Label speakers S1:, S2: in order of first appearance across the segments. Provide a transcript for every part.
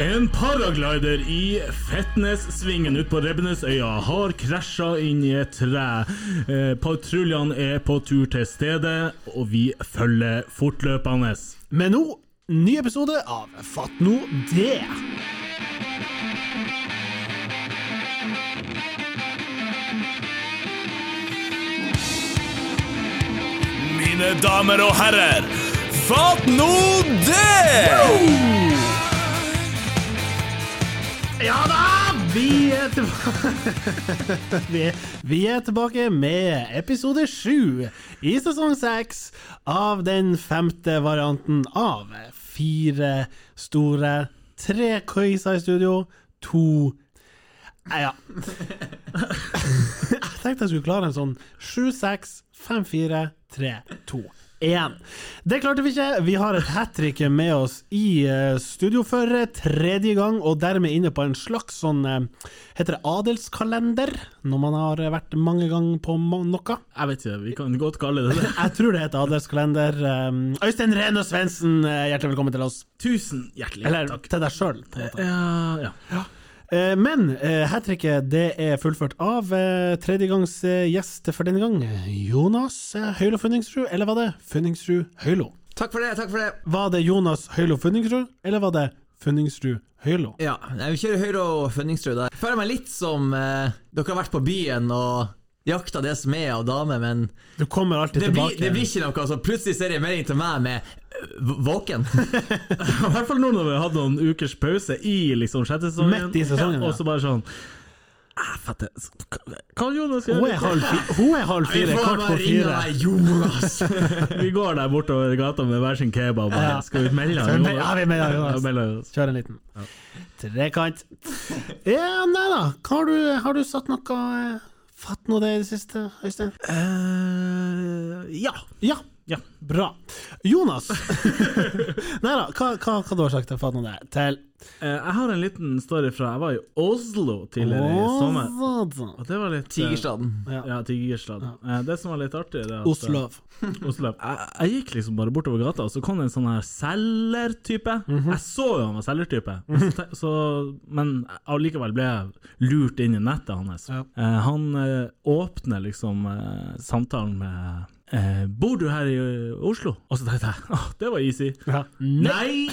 S1: En paraglider i Fetnessvingen ute på Rebbenesøya har krasja inn i et tre. Eh, Patruljene er på tur til stedet, og vi følger fortløpende.
S2: Men nå, ny episode av Fatt nå det.
S3: Mine damer og herrer, fatt nå det!
S2: Ja da! Vi er tilbake vi, vi er tilbake med episode sju i sesong seks av den femte varianten av fire store, tre køyser i studio, to Nei, Ja. Jeg tenkte jeg skulle klare en sånn 7-6-5-4-3-2-1. Det klarte vi ikke. Vi har et hat trick med oss i eh, studio for eh, tredje gang, og dermed inne på en slags sånn eh, Heter det adelskalender? Når man har vært mange ganger på ma- noe?
S1: Jeg vet ikke, vi kan godt kalle det det.
S2: Jeg tror det heter adelskalender. Eh, Øystein Rene Svendsen, eh, hjertelig velkommen til oss.
S1: Tusen hjertelig
S2: Eller
S1: takk.
S2: til deg sjøl, på en måte.
S1: Ja, ja.
S2: Eh, Men eh, hat tricket det er fullført av eh, tredjegangs eh, gjest for denne gang, Jonas eh, Høylo Funningsrud. Eller var det Funningsrud Høylo?
S4: Takk for det, takk for det.
S2: Var det Jonas Høylo Funningsrud, eller var det Funningsrud Høylo?
S4: Ja, nei, Vi kjører Høyre og Fønningsrud. Jeg føler meg litt som eh, dere har vært på byen og jakta det som er av damer, men
S2: Du kommer alltid
S4: det blir,
S2: tilbake.
S4: det blir ikke noe. Så plutselig ser jeg en melding til meg med eh, v- våken.
S1: I hvert fall nå når vi har hatt noen ukers pause i liksom sjette sesongen.
S2: Midt i sesongen, ja.
S1: Og så bare sånn "Ah, fatter, Kan Jonas
S2: Hun
S1: gjøre
S2: er halv fi- hun er halv fire,
S4: Får
S2: kvart
S4: meg
S2: på
S4: ringe
S2: fire.
S4: deg, Jonas!
S1: Vi går der bortover gata med hver sin kebab. og bare,
S2: Ja.
S1: Skal vi melde
S2: Skal vi
S1: han,
S2: melde- ja, vi melder han,
S1: Ja,
S2: Jonas.
S1: melder oss.
S2: Kjør en liten trekant. Ja, nei da. Har du, har du satt noe eh, fatt nå det i det siste, Øystein?
S1: Eh, ja.
S2: Ja.
S1: Ja.
S2: Bra. Jonas! Nei da, hva, hva, hva du har sagt til fatt nå det til
S1: Eh, jeg har en liten story fra Jeg var i Oslo tidligere i sommer.
S2: Oslo.
S1: Og det var litt eh,
S4: Tigerstaden.
S1: Ja, Tigerstad. Eh, det som var litt artig, det er at,
S2: Oslo.
S1: eh, Oslo. Jeg, jeg gikk liksom bare bortover gata, og så kom det en sånn her selgertype.
S2: Mhm.
S1: Jeg så jo han var selgertype, men så te- så- men allikevel ble jeg lurt inn i nettet hans.
S2: Ja.
S1: Eh, han eh, åpner liksom eh, samtalen med eh, Bor du her i eh, Oslo? Og så tenkte jeg åh, det var easy.
S2: Ja.
S1: Nei!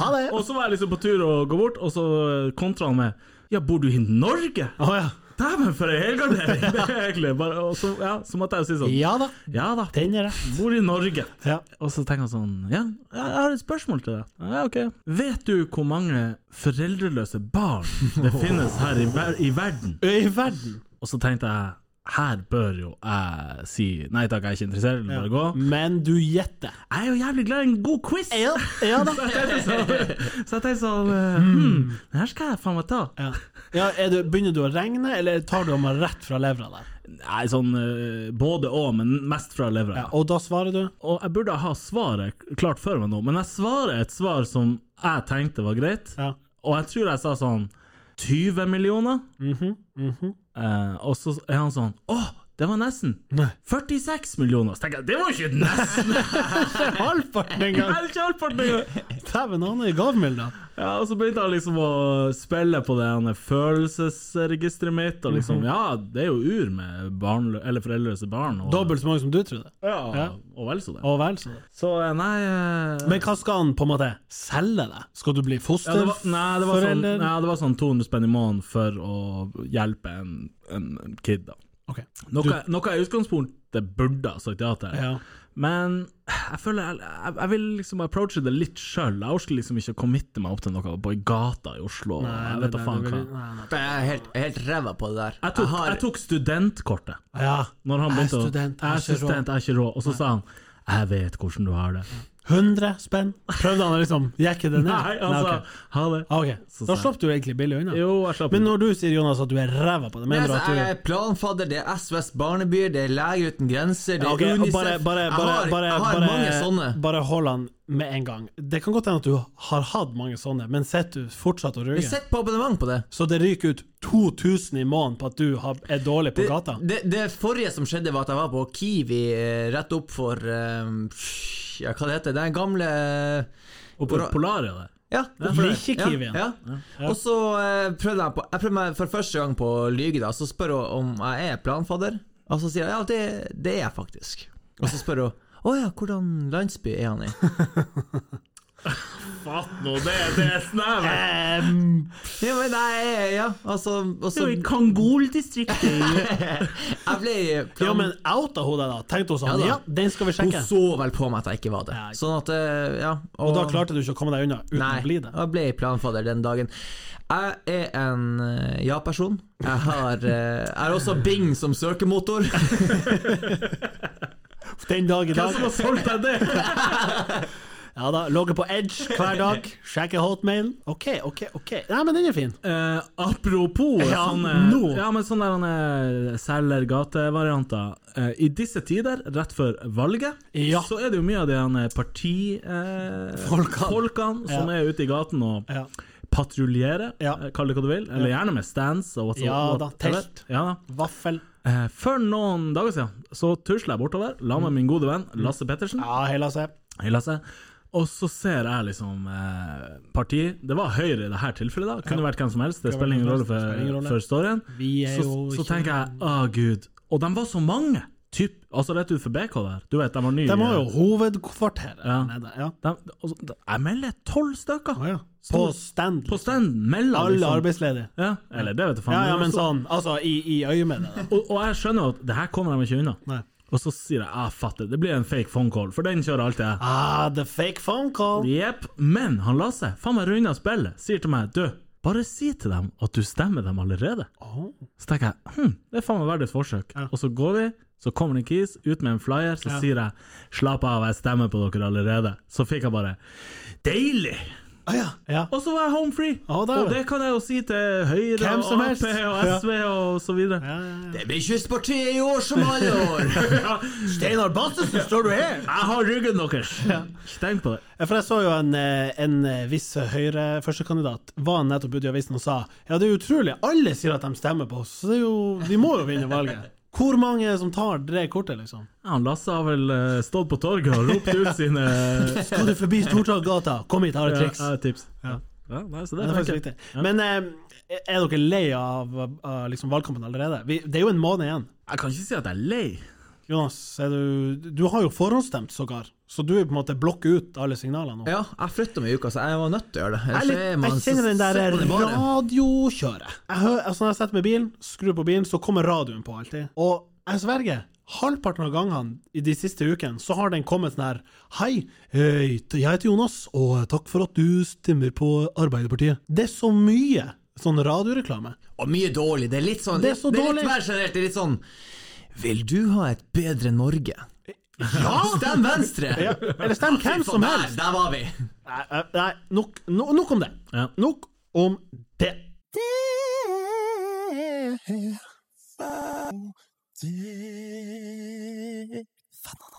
S2: Ha det!
S1: Og
S2: Å
S1: så var jeg liksom på tur å gå bort, og så eh, kontra han med Ja, bor du i Norge?
S2: ja.
S1: Dæven, for ei helgardering! Det er egentlig bare Og så, ja, så måtte jeg jo si sånn
S2: Ja da,
S1: Ja da,
S2: den er rett.
S1: bor i Norge.
S2: Ja.
S1: Og så tenker han sånn Ja, jeg har et spørsmål til deg. Ja, ok. Vet du hvor mange foreldreløse barn det finnes her i, ver i verden?
S2: Øy i verden.
S1: Og så tenkte jeg her bør jo jeg si nei takk, jeg er ikke interessert, bare gå.
S2: Men du gjetter.
S1: Jeg er jo jævlig glad i en god quiz!
S2: ja da.
S1: Så jeg tenkte sånn, så jeg tenkte sånn eh, hmm, Den her skal jeg faen meg ta.
S2: Ja. Ja, er du, begynner du å regne, eller tar du om rett fra levra der?
S1: Nei, sånn eh, både og, men mest fra levra.
S2: Ja. Og da svarer du?
S1: Og jeg burde ha svaret klart før meg nå, men jeg svarer et svar som jeg tenkte var greit,
S2: Ja.
S1: og jeg tror jeg sa sånn 20 millioner,
S2: Mhm,
S1: eh, og så er han sånn Å, det var nesten!
S2: Nei.
S1: 46 millioner! Så tenker jeg, det var jo ikke nesten!
S2: Halvparten en
S1: Jeg er ikke halvparten engang!
S2: Dæven, han er gavmild, da.
S1: Ja, og så begynte han liksom å spille på det han er følelsesregisteret mitt, og liksom
S2: Mhm.
S1: Ja, det er jo ur med barnlø eller foreldreløse barn. Og,
S2: Dobbelt så mange som du trodde.
S1: Ja,
S2: Ja.
S1: og vel så det.
S2: Og vel så det.
S1: Så eh, nei eh,
S2: Men hva skal han på en måte selge deg? Skal du bli
S1: ja, det var,
S2: fosterforelder?
S1: nei, det var sånn, nei, det var sånn 200 spenn i måneden for å hjelpe en, en, en kid, da.
S2: Ok.
S1: Noe,
S2: Du-
S1: noe jeg i utgangspunktet burde ha sagt ja til.
S2: Ja.
S1: Men jeg føler jeg, jeg, jeg vil liksom approache det litt sjøl. Jeg orker liksom ikke å committe meg opp til noe på i gata i Oslo.
S2: Nei,
S1: jeg vet da
S2: nei,
S1: faen
S2: det
S1: hva.
S2: blir- nei, nei.
S4: Jeg er helt, jeg er helt ræva på det der.
S1: Jeg tok,
S4: har-
S1: jeg tok studentkortet.
S2: Ja.
S1: Når han
S2: Jeg er
S1: begynte å-
S2: student, jeg
S1: jeg
S2: har
S1: er
S2: ikke råd.
S1: student, jeg har ikke råd. Og så sa han jeg vet hvordan du har det.
S2: 100 spenn? Prøvde han å liksom jekke det ned?
S1: Nei, han sa
S2: ok.
S1: ha det.
S2: Ah, ok.
S1: Så sa
S2: Da
S1: jeg-
S2: slapp du egentlig billig unna.
S1: Jo, jeg slapp
S2: Men når du sier Jonas at du er ræva på det,
S4: Nei,
S2: mener du
S4: altså,
S2: at
S4: jeg er
S2: du
S4: planfadder, det er SOS Barnebyer, det er Leger uten grenser, det
S2: Ja,
S4: er
S2: ok, og
S4: Unicef
S2: bare, bare,
S4: Jeg
S2: bare,
S4: har,
S2: bare,
S4: jeg har
S2: bare,
S4: mange sånne.
S2: bare hold han med en gang. Det kan godt hende at du har hatt mange sånne, men sitter du fortsatt og
S4: Vi
S2: ruger?
S4: sitter på abonnement på det.
S2: Så det ryker ut 2000 i måneden på at du har, er dårlig på gata?
S4: Det, det forrige som skjedde, var at jeg var på Kiwi eh, rett opp for eh, Ja, hva det heter det? Den gamle
S1: Oppe i Polaria der.
S4: Ja, Ja, det
S2: blir
S4: det.
S2: ikke
S4: Ja,
S2: Kiwien.
S4: Ja. Og så eh, prøvde jeg, på, jeg prøvde meg for første gang på å lyge, da. Så spør hun om jeg er planfadder, og så sier hun ja, det, det er jeg faktisk. Og så spør hun å ja, hvordan landsby er han i?
S1: Fatt nå, det, det er snevert.
S2: Eh, Em,
S4: Ja, men nei, ja, altså og så,
S1: Kangol-distriktet.
S4: Jeg ble plan...
S2: ja, men outa hun deg, da? Tenkte hun sånn,
S4: Ja
S2: ja,
S4: da.
S2: den skal vi
S4: Hun
S2: sjekke.
S4: så vel på meg at jeg ikke var det.
S2: Nei.
S4: Sånn at, eh, ja
S2: Og da klarte du ikke å komme deg unna uten
S4: Nei,
S2: å bli det.
S4: jeg ble planfader den dagen. Jeg er en eh, ja-person. Jeg har eh, Jeg har også Bing som søkemotor.
S2: Den dag i
S1: Hvem
S2: dag.
S1: som har solgt deg det?
S2: Ja da, Logger på Edge hver dag. Sjekker hotmail. OK, OK, OK. Nei, men den er fin.
S1: Eh, apropos
S2: Ja,
S1: sånne,
S2: nå.
S1: ja, men sånne der, eh, selger gatevarianter. Eh, I disse tider, rett før valget,
S2: Ja.
S1: så er det jo mye av de her partifolkene eh,
S2: Folkene.
S1: folkene som
S2: Ja.
S1: er ute i gaten og
S2: Ja.
S1: patruljerer,
S2: Ja.
S1: eh, kall det hva du vil. Eller gjerne med stands og what's-
S2: Ja da,
S1: what-
S2: telt.
S1: Ja da.
S2: Vaffel.
S1: Eh, for noen dager siden så tusla jeg bortover la
S2: Mm.
S1: med min gode venn Lasse Pettersen.
S2: Ja, hella seg.
S1: Hei, Lasse. Og så ser jeg liksom eh, parti Det var Høyre i det her tilfellet, da. Kunne vært hvem som helst. Det
S2: Kunne vært
S1: spiller ingen
S2: hvem
S1: rolle
S2: som helst. Spiller ingen
S1: for,
S2: rolle.
S1: for storyen.
S2: Vi er
S1: Så,
S2: jo
S1: så
S2: ikke-
S1: tenker jeg å gud. Og de var så mange! Typ, altså rett utenfor BK der. Du vet, de var nye.
S2: De har jo hovedkvarteret
S1: Ja.
S2: nede. Ja.
S1: de, altså, de, Jeg melder tolv stykker!
S2: Ja, ja.
S1: På,
S2: På stand.
S1: på standen mellom liksom.
S2: Alle arbeidsledige.
S1: Ja, eller det vet du faen.
S2: Ja, ja,
S1: Men
S2: men
S1: så-
S2: sånn, altså i, i øyemedet. da.
S1: og, og jeg skjønner jo at det her kommer de ikke unna.
S2: Nei.
S1: Og så sier jeg ah, fatter, det blir en fake phone call, for den kjører alltid jeg.
S2: Ah, the fake phone call.
S1: Jepp. Men han Lasse, faen meg runda spillet, sier til meg du, bare si til dem at du stemmer dem allerede. Så tenker jeg hm, det er faen meg verdt et forsøk. Og så går vi, så kommer det en kis ut med en flyer, så sier jeg slapp av, jeg stemmer på dere allerede. Så fikk jeg bare deilig!
S2: Ah, ja. ja.
S1: Og så var jeg home free!
S2: Å, der
S1: og
S2: var
S1: det kan jeg jo si til Høyre
S2: Hvem som
S1: og Ap
S2: helst.
S1: og SV og så videre.
S4: Det blir kystpartiet i år som alle år!
S2: Steinar Battesen, står du her?
S1: Jeg har ryggen deres! Steng på det.
S2: For jeg så jo en, eh, en eh, viss Høyre-førstekandidat var nettopp ute i avisen og sa ja, det er utrolig, alle sier at de stemmer på oss, så det er jo, vi må jo vinne valget. Hvor mange som tar det kortet, liksom?
S1: Ja, han Lasse har vel eh, stått på torget og ropt ut sine
S2: Skal du forbi Stortorgata? Kom hit, jeg har et triks.
S1: Ja, ja, tips.
S2: Ja.
S1: Ja, nei, så
S2: Det
S1: det
S2: er
S1: er
S2: faktisk
S1: ikke
S2: riktig. Men eh, er dere lei av, av liksom valgkampen allerede? Vi, det er jo en måned igjen.
S1: Jeg kan ikke si at jeg er lei.
S2: Jonas, er du, du har jo forhåndsstemt sågar, så du er på en måte blokk ut alle signalene nå.
S4: Ja, jeg flytta meg i uka, så jeg var nødt til å gjøre det.
S2: Jeg, er
S4: Ellers
S2: litt,
S4: er man
S2: jeg
S4: så-
S2: kjenner den
S4: sitter man i
S2: der eh,
S4: baren.
S2: radiokjøret. Jeg hører, altså når jeg setter meg i bilen, skrur på bilen, så kommer radioen på alltid. Og jeg sverger, halvparten av gangene i de siste ukene, så har den kommet sånn her Hei, hei, jeg heter Jonas, og takk for at du stemmer på Arbeiderpartiet. Det er så mye sånn radioreklame.
S4: Og mye dårlig. Det er litt sånn
S2: Det er så dårlig.
S4: litt mer generelt. Det er litt sånn Vil du ha et bedre Norge? Ja! Stem Venstre!
S2: Ja, eller stem hvem som
S4: Faen,
S2: helst.
S4: Der, der var vi!
S2: Nei, nei, nei nok, no, nok om det.
S1: Ja.
S2: Nok om det.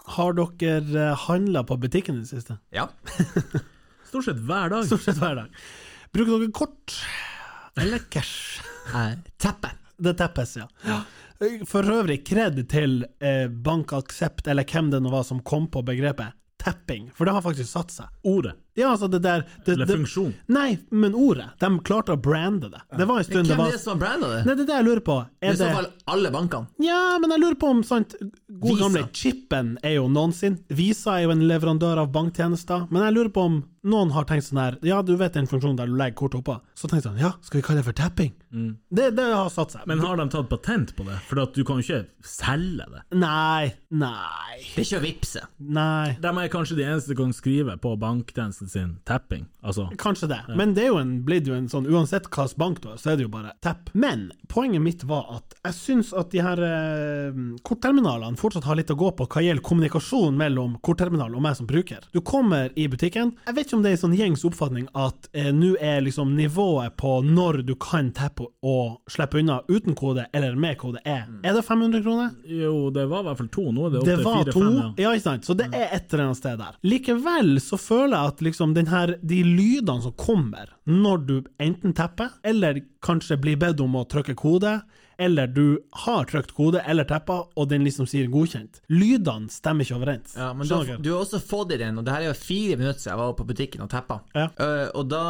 S2: Har dere handla på butikken i det siste?
S4: Ja.
S1: Stort sett hver dag.
S2: Stort sett hver dag. Bruker dere kort eller cash?
S4: Eh, Teppe.
S2: Det teppes, ja. For øvrig, kred til eh, BankAksept, eller hvem det nå var som kom på begrepet tapping, for det har faktisk satt seg.
S1: Ordet.
S2: Ja, altså det der det,
S1: Eller
S2: det-
S1: funksjon.
S2: Nei, men ordet. De klarte å brande det. Det var en stund
S4: Hvem
S2: det
S4: er
S2: var
S4: det som har branda det?
S2: Nei, det er det jeg lurer på. Er
S4: Det er i så
S2: det
S4: fall alle bankene.
S2: Ja, men jeg lurer på om sant God
S4: Visa.
S2: gamle chipen er jo noen sin. Visa er jo en leverandør av banktjenester. Men jeg lurer på om noen har tenkt sånn her Ja, du vet den funksjonen der du legger kortet oppå? Så tenkte jeg sånn Ja, skal vi kalle det for tapping? Det, det har satt seg.
S1: Men har de tatt patent på det? For at du kan jo ikke selge det.
S2: Nei, nei,
S4: Det er ikke å vippse.
S2: nei.
S1: De er kanskje de eneste som kan skrive på banktjenesten sin tapping. Altså,
S2: Kanskje det, men det er jo en, blitt jo en sånn Uansett hvilken bank du har, så er det jo bare tapp. Men poenget mitt var at jeg syns at de her eh, kortterminalene fortsatt har litt å gå på hva gjelder kommunikasjon mellom kortterminal og meg som bruker. Du kommer i butikken. Jeg vet ikke om det er en sånn gjengs oppfatning at eh, nå er liksom nivået på når du kan tappe og slippe unna uten kode eller med kode, er Er det 500 kroner?
S1: jo, det var i hvert fall to nå. Det,
S2: Det
S1: er
S2: var
S1: opp til
S2: to,
S1: fire-fem. Ja.
S2: ja ikke sant, så det
S4: Mm.
S2: er et eller annet sted der. Likevel så føler jeg at liksom den her, de lydene som kommer når du enten tepper, eller kanskje blir bedt om å trykke kode, eller du har trykt kode eller teppa, og den liksom sier godkjent. Lydene stemmer ikke overens.
S4: Ja, men da,
S2: Skjønner dere?
S4: du har også fått i den, og det her er jo fire minutter siden jeg var på butikken og teppa.
S2: Ja.
S4: Eh, og da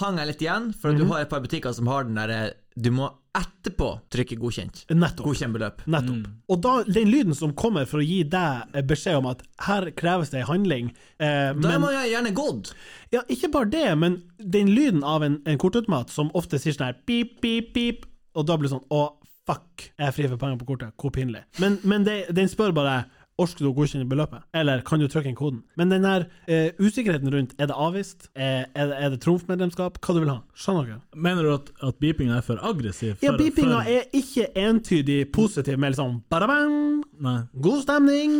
S4: hang jeg litt igjen, for du har et par butikker som har den derre Du må etterpå trykke godkjent.
S2: Nettopp.
S4: Godkjent Mm. beløp.
S2: Nettopp. Og da, den lyden som kommer for å gi deg eh, beskjed om at her kreves det en handling eh,
S4: Da
S2: men,
S4: må jeg gjerne gått.
S2: Ja, ikke bare det, men den lyden av en, en kortautomat som ofte sier sånn her pip, pip, pip, og da blir det sånn å, fuck, jeg er fri for penger på kortet, hvor pinlig. Men, men det, den spør bare orker du å godkjenne beløpet, eller kan du trykke inn koden? Men den her eh, usikkerheten rundt er det avvist, eh, er det, er det trumfmedlemskap, hva du vil ha? Skjønner dere?
S1: Mener du at, at beepinga er for aggressiv?
S2: Ja,
S1: For-
S2: beepinga
S1: for-
S2: er ikke entydig positiv med liksom badabang,
S1: Nei.
S2: god stemning,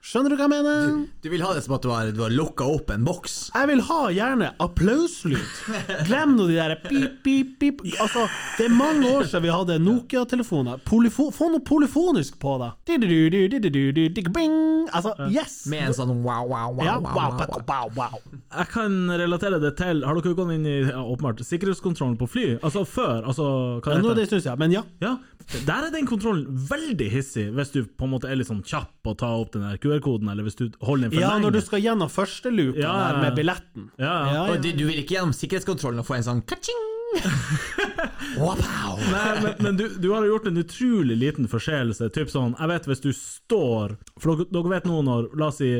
S2: skjønner du hva jeg mener?
S4: Du vil ha det som at du har, du har lukka opp en boks.
S2: Jeg vil ha gjerne applauslyd. Glem nå de der pip, pip, pip. Altså, det er mange år siden vi hadde Nokia-telefoner. Polyfo Få noe polyfonisk på det. Du-du-du, du-du-du, dik-bing. Altså, yes!
S4: Med en sånn wow, wow, wow.
S2: Ja,
S4: wow,
S2: wow,
S4: wow, wow.
S2: wow, wow.
S1: Jeg kan relatere det til Har dere gått inn i ja, åpenbart sikkerhetskontrollen på fly? Altså før? Altså, hva
S2: Ja, nå
S1: heter
S2: er det en stund siden, men ja.
S1: Ja, der er den kontrollen veldig hissig, hvis du på en måte er litt sånn kjapp og tar opp den der QR-koden, eller hvis du holder den for
S2: Ja,
S1: lenge.
S2: når du skal gjennom første luka
S1: Ja, ja,
S2: der
S1: ja.
S2: med billetten.
S1: ja, ja.
S2: Ja,
S4: Og du, du vil ikke gjennom sikkerhetskontrollen og få en sånn ka-ching! wow.
S1: Nei, men, men du, du har jo gjort en utrolig liten forseelse. Typ sånn, jeg vet hvis du står For dere, dere vet nå når La oss si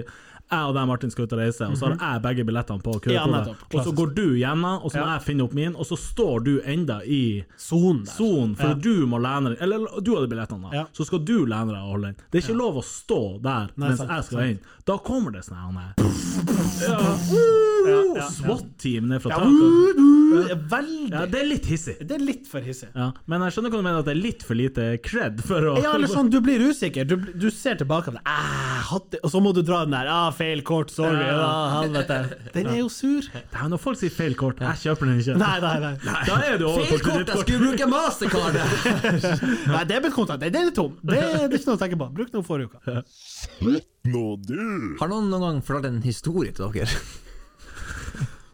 S1: jeg og deg, Martin, skal ut og reise, og så har jeg begge billettene på
S2: Mhm. Ja,
S1: QR-kode.
S2: nettopp.
S1: og så
S2: Klassisk.
S1: går du gjennom, og så må
S2: Ja.
S1: jeg finne opp min, og så står du enda i
S2: Sonen der.
S1: sonen, for
S2: Ja.
S1: du må lene deg Eller du hadde billettene, da.
S2: Ja.
S1: Så skal du lene deg og holde den. Det er ikke lov å stå der
S2: Nei,
S1: mens
S2: sant,
S1: jeg skal
S2: sant.
S1: inn. Da kommer det sånn her
S2: Ja, ja,
S1: ja.
S2: ja.
S1: SWAT-team ned fra
S2: Ja,
S1: taket.
S2: uh, uh, Veldig.
S1: Ja, det er litt hissig.
S2: Det er litt for hissig.
S1: Ja, men jeg skjønner hva du mener, at det er litt for lite cred for å
S2: Ja, eller sånn, du blir usikker. Du, bl- du ser tilbake på det. Ah, hatt det. Og så må du dra den der. Ah, feil kort, sorry.
S1: Ja.
S2: Ah, helvete. Den er jo sur.
S1: Det er jo når folk sier feil kort, jeg kjøper den ikke.
S2: Nei, nei, nei.
S1: Da er du over på
S4: Feil kort, jeg
S1: kredittkort.
S4: skulle bruke mastercard!
S2: nei Debitkontoen, den er tom. Det, det er ikke noe å tenke på. Bruk den om forrige uke.
S4: Har noen noen gang fortalt en historie til dere?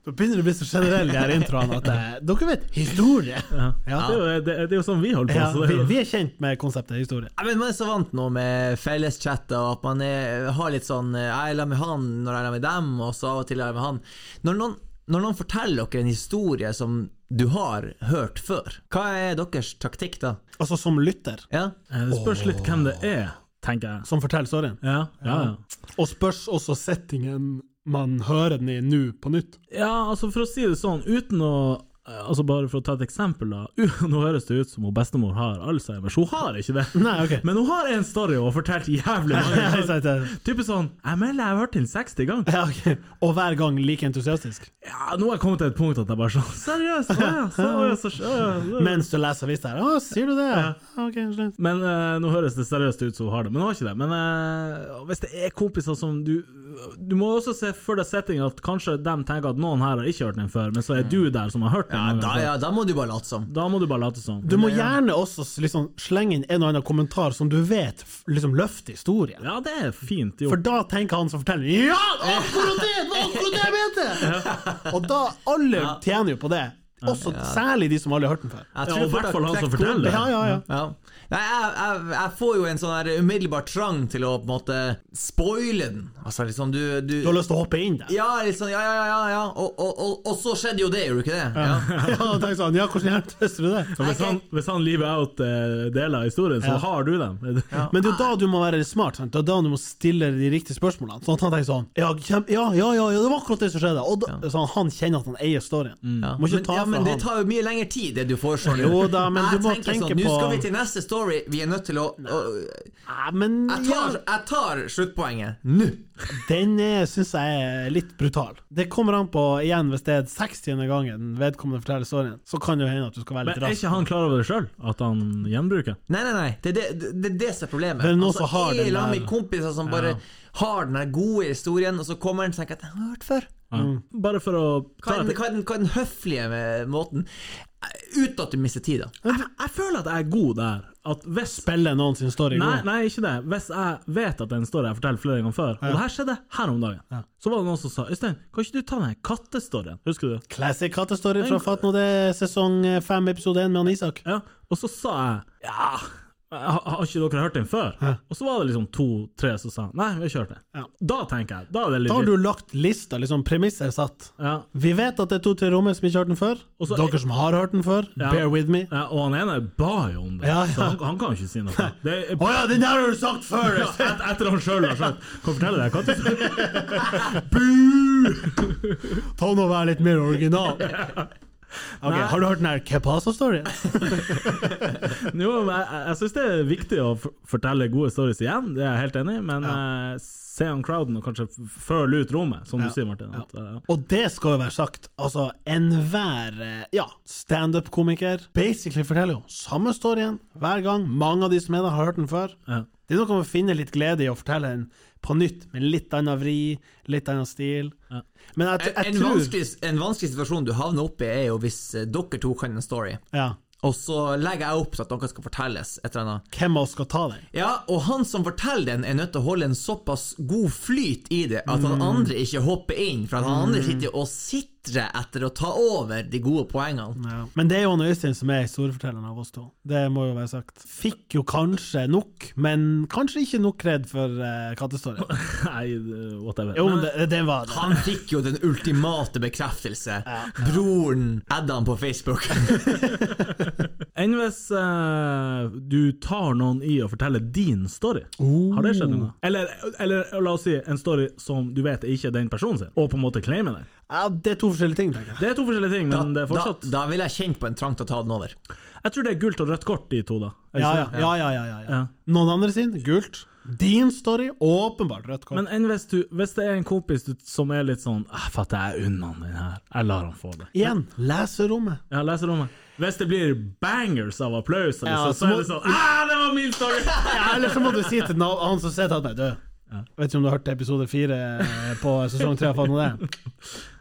S2: Nå begynner det å bli så generell, de her introene, at eh, dere vet historie. Ja.
S1: Det er, jo, det, det er jo sånn vi holder på.
S2: Ja,
S1: så det
S2: vi,
S1: er jo-
S2: vi er kjent med konseptet historie.
S4: Ja, men Man er så vant nå med felleschatter og at man er, har litt sånn eh, Jeg er sammen med han når jeg er sammen med dem, og så av og til er jeg med han. Når noen, når noen forteller dere en historie som du har hørt før, hva er deres taktikk da?
S2: Altså som lytter,
S4: Ja?
S1: Eh, Det spørs litt hvem det er, tenker jeg.
S2: som forteller storyen.
S1: Ja, ja, ja.
S2: Og spørs også settingen man hører den i nå på nytt.
S1: Ja, altså for å si det sånn, uten å Altså Bare for å ta et eksempel, da. Nå høres det ut som hun bestemor har Alzheimer, så hun har ikke det.
S2: Nei, ok.
S1: Men hun har en story og har fortalt jævlig mange.
S2: Nei, sant, ja.
S1: Typisk sånn Jeg melder, jeg har hørt den 60 ganger.
S2: Ja, ok. Og hver gang like entusiastisk.
S1: Ja, nå har jeg kommet til et punkt at jeg bare sånn Seriøst? Å ja, så, å, ja, så, å, ja, så.
S2: Mens du leser avisa her. Å, sier du det? Ok, slutt.
S1: Men eh, nå høres det seriøst ut som hun har det, men hun har ikke det. Men eh, hvis det er kompiser som du Du må også se for deg settingen at kanskje de tenker at noen her har ikke hørt den før, men så er du der som har hørt den.
S4: Ja,
S1: mange
S4: da,
S1: ganger før.
S4: ja, da må du bare late som.
S1: Da må du bare late som.
S2: Du må gjerne også s- liksom slenge inn en og annen kommentar som du vet f- liksom løfter historien.
S1: Ja, det er fint
S2: For
S1: gjort.
S2: da tenker han som forteller Ja, akkurat det! Det var akkurat det jeg mente! Og da alle tjener jo på det. Også særlig de som aldri har hørt den før.
S4: Jeg
S1: Ja,
S4: tror
S1: og i
S4: folk har
S1: hvert fall han som
S4: knekt koden.
S1: forteller.
S2: Ja, ja, ja.
S4: Ja. Nei, jeg, jeg, jeg får jo en sånn her umiddelbar trang til å på en måte spoile den. Altså liksom du, du
S2: Du har lyst til å hoppe inn der.
S4: ja, liksom, ja, ja, ja, ja, ja. Og, og, og, og så skjedde jo det, gjorde du ikke det? Ja.
S2: Ja, og tenker sånn, ja, hvordan hjelpes du det?
S1: Og hvis, han, hvis han leave out eh, deler av historien, så
S2: Ja.
S1: har du dem.
S2: Men det er jo da du må være smart, sant? det er da du må stille de riktige spørsmålene. Sånn at han tenker sånn ja, kjem, ja, ja, ja, ja, det var akkurat det som skjedde. Og da, sånn, han kjenner at han eier storyen.
S4: Mm.
S2: Må ikke
S4: men,
S2: ta
S4: ja, men
S2: fra
S4: det
S2: han.
S4: tar jo mye lengre tid, det du foreslår. nå.
S2: Jo da, men
S4: jeg
S2: du må
S4: tenker
S2: tenke
S4: sånn, Nå
S2: på-
S4: skal vi til neste story. Vi er nødt til å, å
S2: Nei, men
S4: jeg,
S2: ja,
S4: tar, jeg tar sluttpoenget nå.
S2: den syns jeg er litt brutal. Det kommer an på, igjen, hvis det er 60. gangen vedkommende forteller storyen, så kan det jo hende at du skal være
S1: Men
S2: litt
S1: er
S2: rask.
S1: ikke han klar over det sjøl, at han gjenbruker?
S4: Nei, nei, nei. Det er det, det, det, er det som er problemet. Altså,
S2: Det er noen som har
S4: jeg
S2: den
S4: er sammen
S2: der-
S4: med kompiser som bare har den der gode historien, og så kommer den og tenker at 'jeg har hørt før'.
S1: Ja.
S2: Mm.
S1: Bare for å
S4: Hva
S2: Sånn
S1: ta
S4: er
S1: et
S4: den, hva er den, hva er den høflige med måten? Uten at du mister tid, da.
S1: jeg, jeg føler at jeg er god der. At hvis
S2: Spille noen sin story
S1: Nei,
S2: god.
S1: nei, ikke det. Hvis jeg vet at det er en story jeg har fortalt flere ganger før, og det her skjedde her om dagen, så var det noen som sa Øystein, kan ikke du ta den her kattestoryen? Husker du?
S2: Classic kattestory fra Fatt nå det, er sesong 5, eh, episode 1 med han Isak.
S1: Ja, Og så sa jeg ja, ha- har ikke dere hørt den før? Og så var det liksom to-tre som sa nei, vi har ikke hørt den.
S2: Ja.
S1: Da tenker jeg, da er det
S2: Da har
S1: legit.
S2: du lagt lista, liksom premisser satt.
S1: Ja.
S2: Vi vet at det er to til rommet som ikke har hørt den før.
S1: Og så-
S2: Dere som har hørt den før,
S1: Ja.
S2: bear with me.
S1: Ja, og han ene ba jo om det,
S2: Ja, ja.
S1: så han, han kan jo ikke si noe. Det er,
S2: Å ja, den der har du sagt før!
S1: Ja, et, etter han sjøl har skjønt. Kan fortelle deg hva du sa.
S2: Ta nå og vær litt mer original. Ok,
S1: Nei.
S2: Har du hørt den her Kepasa-storyen?
S1: Jo, men jeg, jeg- jeg syns det er viktig å f- fortelle gode stories igjen, det er jeg helt enig i, men eh, se an crowden og kanskje f- føle ut rommet, som du sier, Martin. At, eh,
S2: Og det skal jo være sagt, altså enhver eh, ja, standup-komiker basically forteller jo samme storyen hver gang. Mange av de som er der, har hørt den før.
S1: Ja.
S2: Det er noe med å finne litt glede i å fortelle den på nytt, med litt annen vri, litt annen stil. Men jeg,
S4: En,
S2: jeg,
S4: en,
S2: tror
S4: vanskelig, en vanskelig situasjon du havner oppi, er jo hvis eh, dere to kan en story,
S2: ja,
S4: og så legger jeg opp til at noe skal fortelles. et eller annet.
S2: Hvem av oss skal ta den?
S4: Ja, Og han som forteller den, er nødt til å holde en såpass god flyt i det at han andre ikke hopper inn, for at han andre sitter og sitrer etter å ta over de gode poengene.
S2: Men det er jo han Øystein som er historiefortelleren av oss to. Det må jo være sagt. Fikk jo kanskje nok, men kanskje ikke nok kred for uh, kattestoryen.
S1: Nei, det- whatever.
S2: Jo,
S1: Men-
S2: men det, det var det.
S4: Han fikk jo den ultimate bekreftelse. Broren adda han på Facebook.
S1: Enn hvis eh, du tar noen i å fortelle din story? Har det skjedd noe? Eller, eller la oss si en story som du vet er ikke den personen sin, og på en måte claime den.
S2: Ja, det er to forskjellige ting, tenker jeg.
S1: Det er to forskjellige ting, men det er
S4: da,
S1: fortsatt
S4: da vil jeg kjenne på en trang til å ta den over.
S1: Jeg tror det er gult og rødt kort, de to, da. Er det
S2: Ja,
S1: ikke
S2: ja,
S1: det?
S2: ja, ja, ja, ja, ja.
S1: Ja.
S2: Noen andre sin, gult. Din story, åpenbart rødt kort.
S1: Men enn hvis, du, hvis det er en kompis du, som er litt sånn ah, 'Fatter, jeg unner han den her. Jeg lar han få det.'
S2: Igjen, leserommet.
S1: Ja, leserommet. Hvis det blir bangers av applaus, eller
S2: Ja,
S1: så, så
S2: så må-
S1: er det sånn 'Ah, det var min story!'
S2: Ja, eller så må du si til na- han som sitter til meg, du, vet ikke om du har hørt episode fire eh, på sesong tre av Faen og det?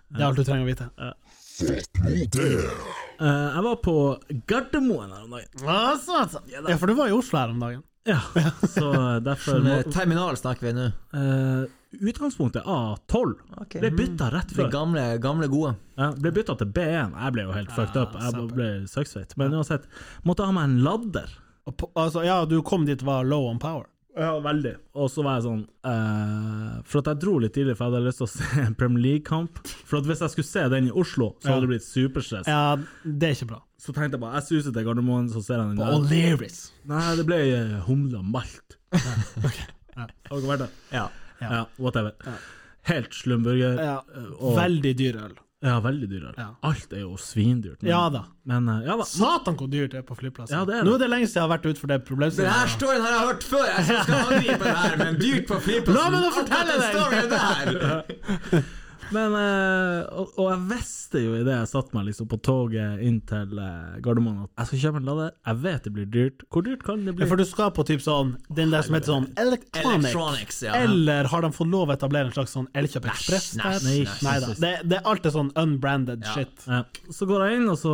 S2: Det er alt du trenger å vite.
S1: Eh, jeg var på Gardermoen her om dagen.
S2: Altså, altså. Ja, for du var i Oslo her om dagen.
S1: Ja, så derfor
S4: Men,
S1: må,
S4: eh, Terminal snakker vi nå.
S1: Eh, utgangspunktet A12
S4: Ok.
S1: ble bytta rett
S4: Det
S2: Mm.
S1: før.
S4: gamle, gamle gode.
S1: Ja, ble bytta til B1. Jeg ble jo helt
S2: Ah,
S1: fucked up. Jeg
S2: søppel.
S1: ble søksfeit. Men uansett, måtte ha meg en ladder.
S2: Og på, altså, ja, du kom dit var low on power.
S1: Ja, veldig. Og så var jeg sånn eh, For at jeg dro litt tidlig, for jeg hadde lyst til å se en Premier League-kamp. For at hvis jeg skulle se den i Oslo, så hadde det blitt superstress.
S2: Ja, det er ikke bra.
S1: Så tenkte jeg bare Jeg suser til Gardermoen, så ser jeg den der.
S2: O'Learys.
S1: Nei, det ble eh, humle og malt. Ja. Har dere vært der?
S4: Ja.
S1: Ja. whatever. Helt slumburger.
S2: Ja,
S1: og-
S2: veldig dyr øl.
S1: Ja, veldig dyrere.
S2: Ja.
S1: Alt er jo svindyrt. Men,
S2: Ja da.
S1: Men eh, ja da.
S2: Satan hvor dyrt det er på flyplasser.
S1: Ja, det er det.
S2: Nå er det lenge siden jeg har vært utfor det
S4: Den her
S2: problemstillingen.
S4: storyen har jeg hørt før! Jeg skal skal angripe den her, men dyrt på flyplassen.
S2: La meg nå fortelle
S4: Akkurat den
S2: deg.
S4: storyen der.
S1: Men, eh, og, og jeg visste jo idet jeg satte meg liksom på toget inn til eh, Gardermoen at jeg skal kjøpe en lader. Jeg vet det blir dyrt. Hvor dyrt kan det
S2: Ja,
S1: bli?
S2: For du skal på typ sånn Den der som heter sånn Electronic.
S4: Electronics, ja.
S2: Eller har de fått lov å etablere en slags sånn Elkjøp Ekspress?
S4: næsj,
S2: der?
S4: næsj.
S2: Neida. Det, det er alltid sånn unbranded shit.
S1: Ja. Så går jeg inn, og så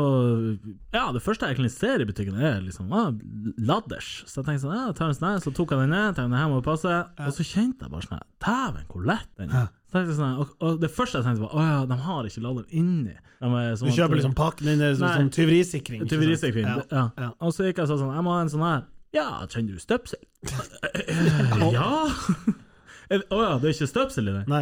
S1: Ja, det første jeg egentlig ser i butikken, er liksom ah, ladders. Så jeg tenkte sånn, ja, jeg tar en sånn her, så tok jeg den ned, tenkte det her må passe. Og så kjente jeg bare sånn her, dæven, hvor lett den er. Så tenkte jeg sånn, her, og, og det første jeg tenkte var, å ja, de har ikke lader inni. De er
S2: Du
S1: sånn at-
S2: kjøper liksom pakken din, det er sånn,
S1: Nei.
S2: sånn tyverisikring. ikke sant?
S1: Tyverisekvinn.
S2: Ja.
S1: Ja.
S2: Ja.
S1: Og så gikk jeg og sa sånn Jeg må ha en sånn her. Ja, kjenner du støpsel? Eh, ja? Å ja, det er ikke støpsel i den?
S2: Nei.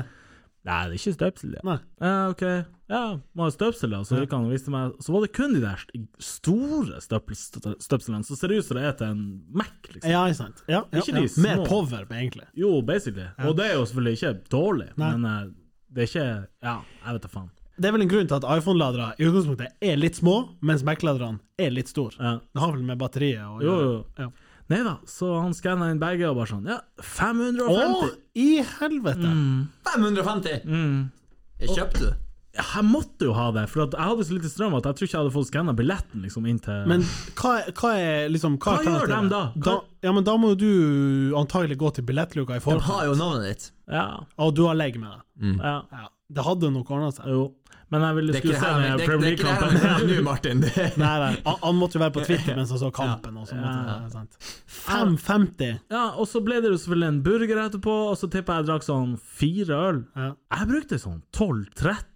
S1: Nei, det er ikke støpsel i den.
S2: Nei.
S1: Ja, ok. Ja, må ha støpsel, da. Så gikk han og viste meg Så var det kun de der st- store støpel- stø- støpslene som ser ut som det er til en Mac, liksom.
S2: Ja, ikke sant. Ja, ja,
S1: Ikke
S2: ja.
S1: de små.
S2: Mer power, egentlig.
S1: Jo, basically. Og det er jo selvfølgelig ikke dårlig,
S2: Nei.
S1: men eh, det er ikke Ja, jeg vet da faen.
S2: Det er vel en grunn til at iPhone-ladere i utgangspunktet er litt små, mens Mac-laderne er litt store.
S1: Ja.
S2: Det har vel med batteriet å
S1: Jo,
S2: gjøre.
S1: jo.
S2: Ja.
S1: Nei da, så han skanna inn begge og bare sånn Ja,
S2: Å,
S1: 550!
S2: i helvete!
S1: Mm.
S4: 550! Jeg kjøpte du.
S1: Jeg måtte jo ha det, for at jeg hadde så lite strøm at jeg tror ikke jeg hadde fått skanna billetten liksom, inn til
S2: Men hva, er- hva er liksom Hva,
S1: Hva
S2: er
S1: gjør
S2: alternativet?
S1: dem da? Hva-
S2: da? Ja, men da må jo du antagelig gå til billettluka i
S4: De har
S2: forkant,
S4: jo navnet ditt.
S1: Ja,
S2: og du har legg med deg.
S1: ja.
S2: Ja. Det hadde nok ordna seg.
S1: Jo. Men jeg ville
S4: Mm. Det er
S1: skulle
S4: ikke det
S1: se
S4: her
S1: den
S4: vi- det er-
S1: Premier
S4: det er ikke det her vi
S1: League-kampen.
S4: snakker om nå, Martin. Det er-
S2: Nei, nei. Han, han måtte jo være på Twitter mens han så kampen. Og så måtte, ja, sant. 5,50.
S1: Ja, og så ble det jo selvfølgelig en burger etterpå, og så tippa jeg jeg drakk sånn fire øl.
S2: Ja.
S1: Jeg brukte sånn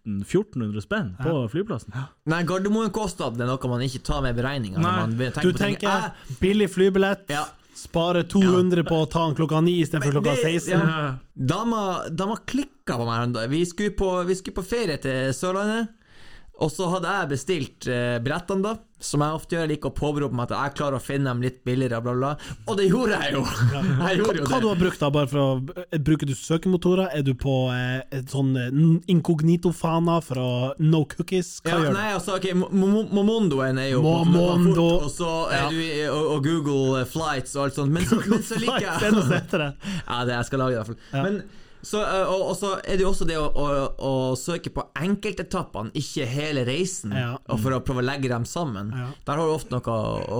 S1: 1200-1300-1400 spenn på flyplassen.
S4: Nei, Gardermoen-kostnaden er noe man ikke tar med i beregninga.
S1: Nei,
S2: Du
S4: Eh,
S2: tenker billig flybillett,
S4: Ja.
S2: spare 200 på å ta den klokka 9 istedenfor klokka
S4: det-
S2: 16.
S4: ja.
S1: Eh,
S4: Dama, dama klikka på meg. her en dag. Vi skulle på, vi skulle på ferie til Sørlandet. Og så hadde jeg bestilt eh, billettene, da. Som jeg ofte gjør. Jeg liker å påberope meg at jeg klarer å finne dem litt billigere. Bla, bla. Og det gjorde jeg jo! Jeg gjorde jo
S2: Hva du
S4: det.
S2: har brukt da, bare for å eh, Bruker du søkemotorer? Er du på eh, et sånn eh, inkognito-fana fra No Cookies? Hva
S4: Ja,
S2: gjør du?
S4: nei, altså, ok, Mo- Mo- Momondoen er jo på-
S2: Momondo.
S4: på fort, og, så er du, i- og, og Google eh, Flights og alt sånt. Men så, men så
S2: Nei,
S4: liker jeg
S2: det er noe som heter det.
S4: Ja, det jeg skal lage i hvert fall. Men, så, ø, og, og så er det jo også det å, å, å søke på enkeltetappene, ikke hele reisen,
S2: Ja.
S4: og for å prøve å legge dem sammen.
S2: Ja.
S4: Der har du ofte noe å, å,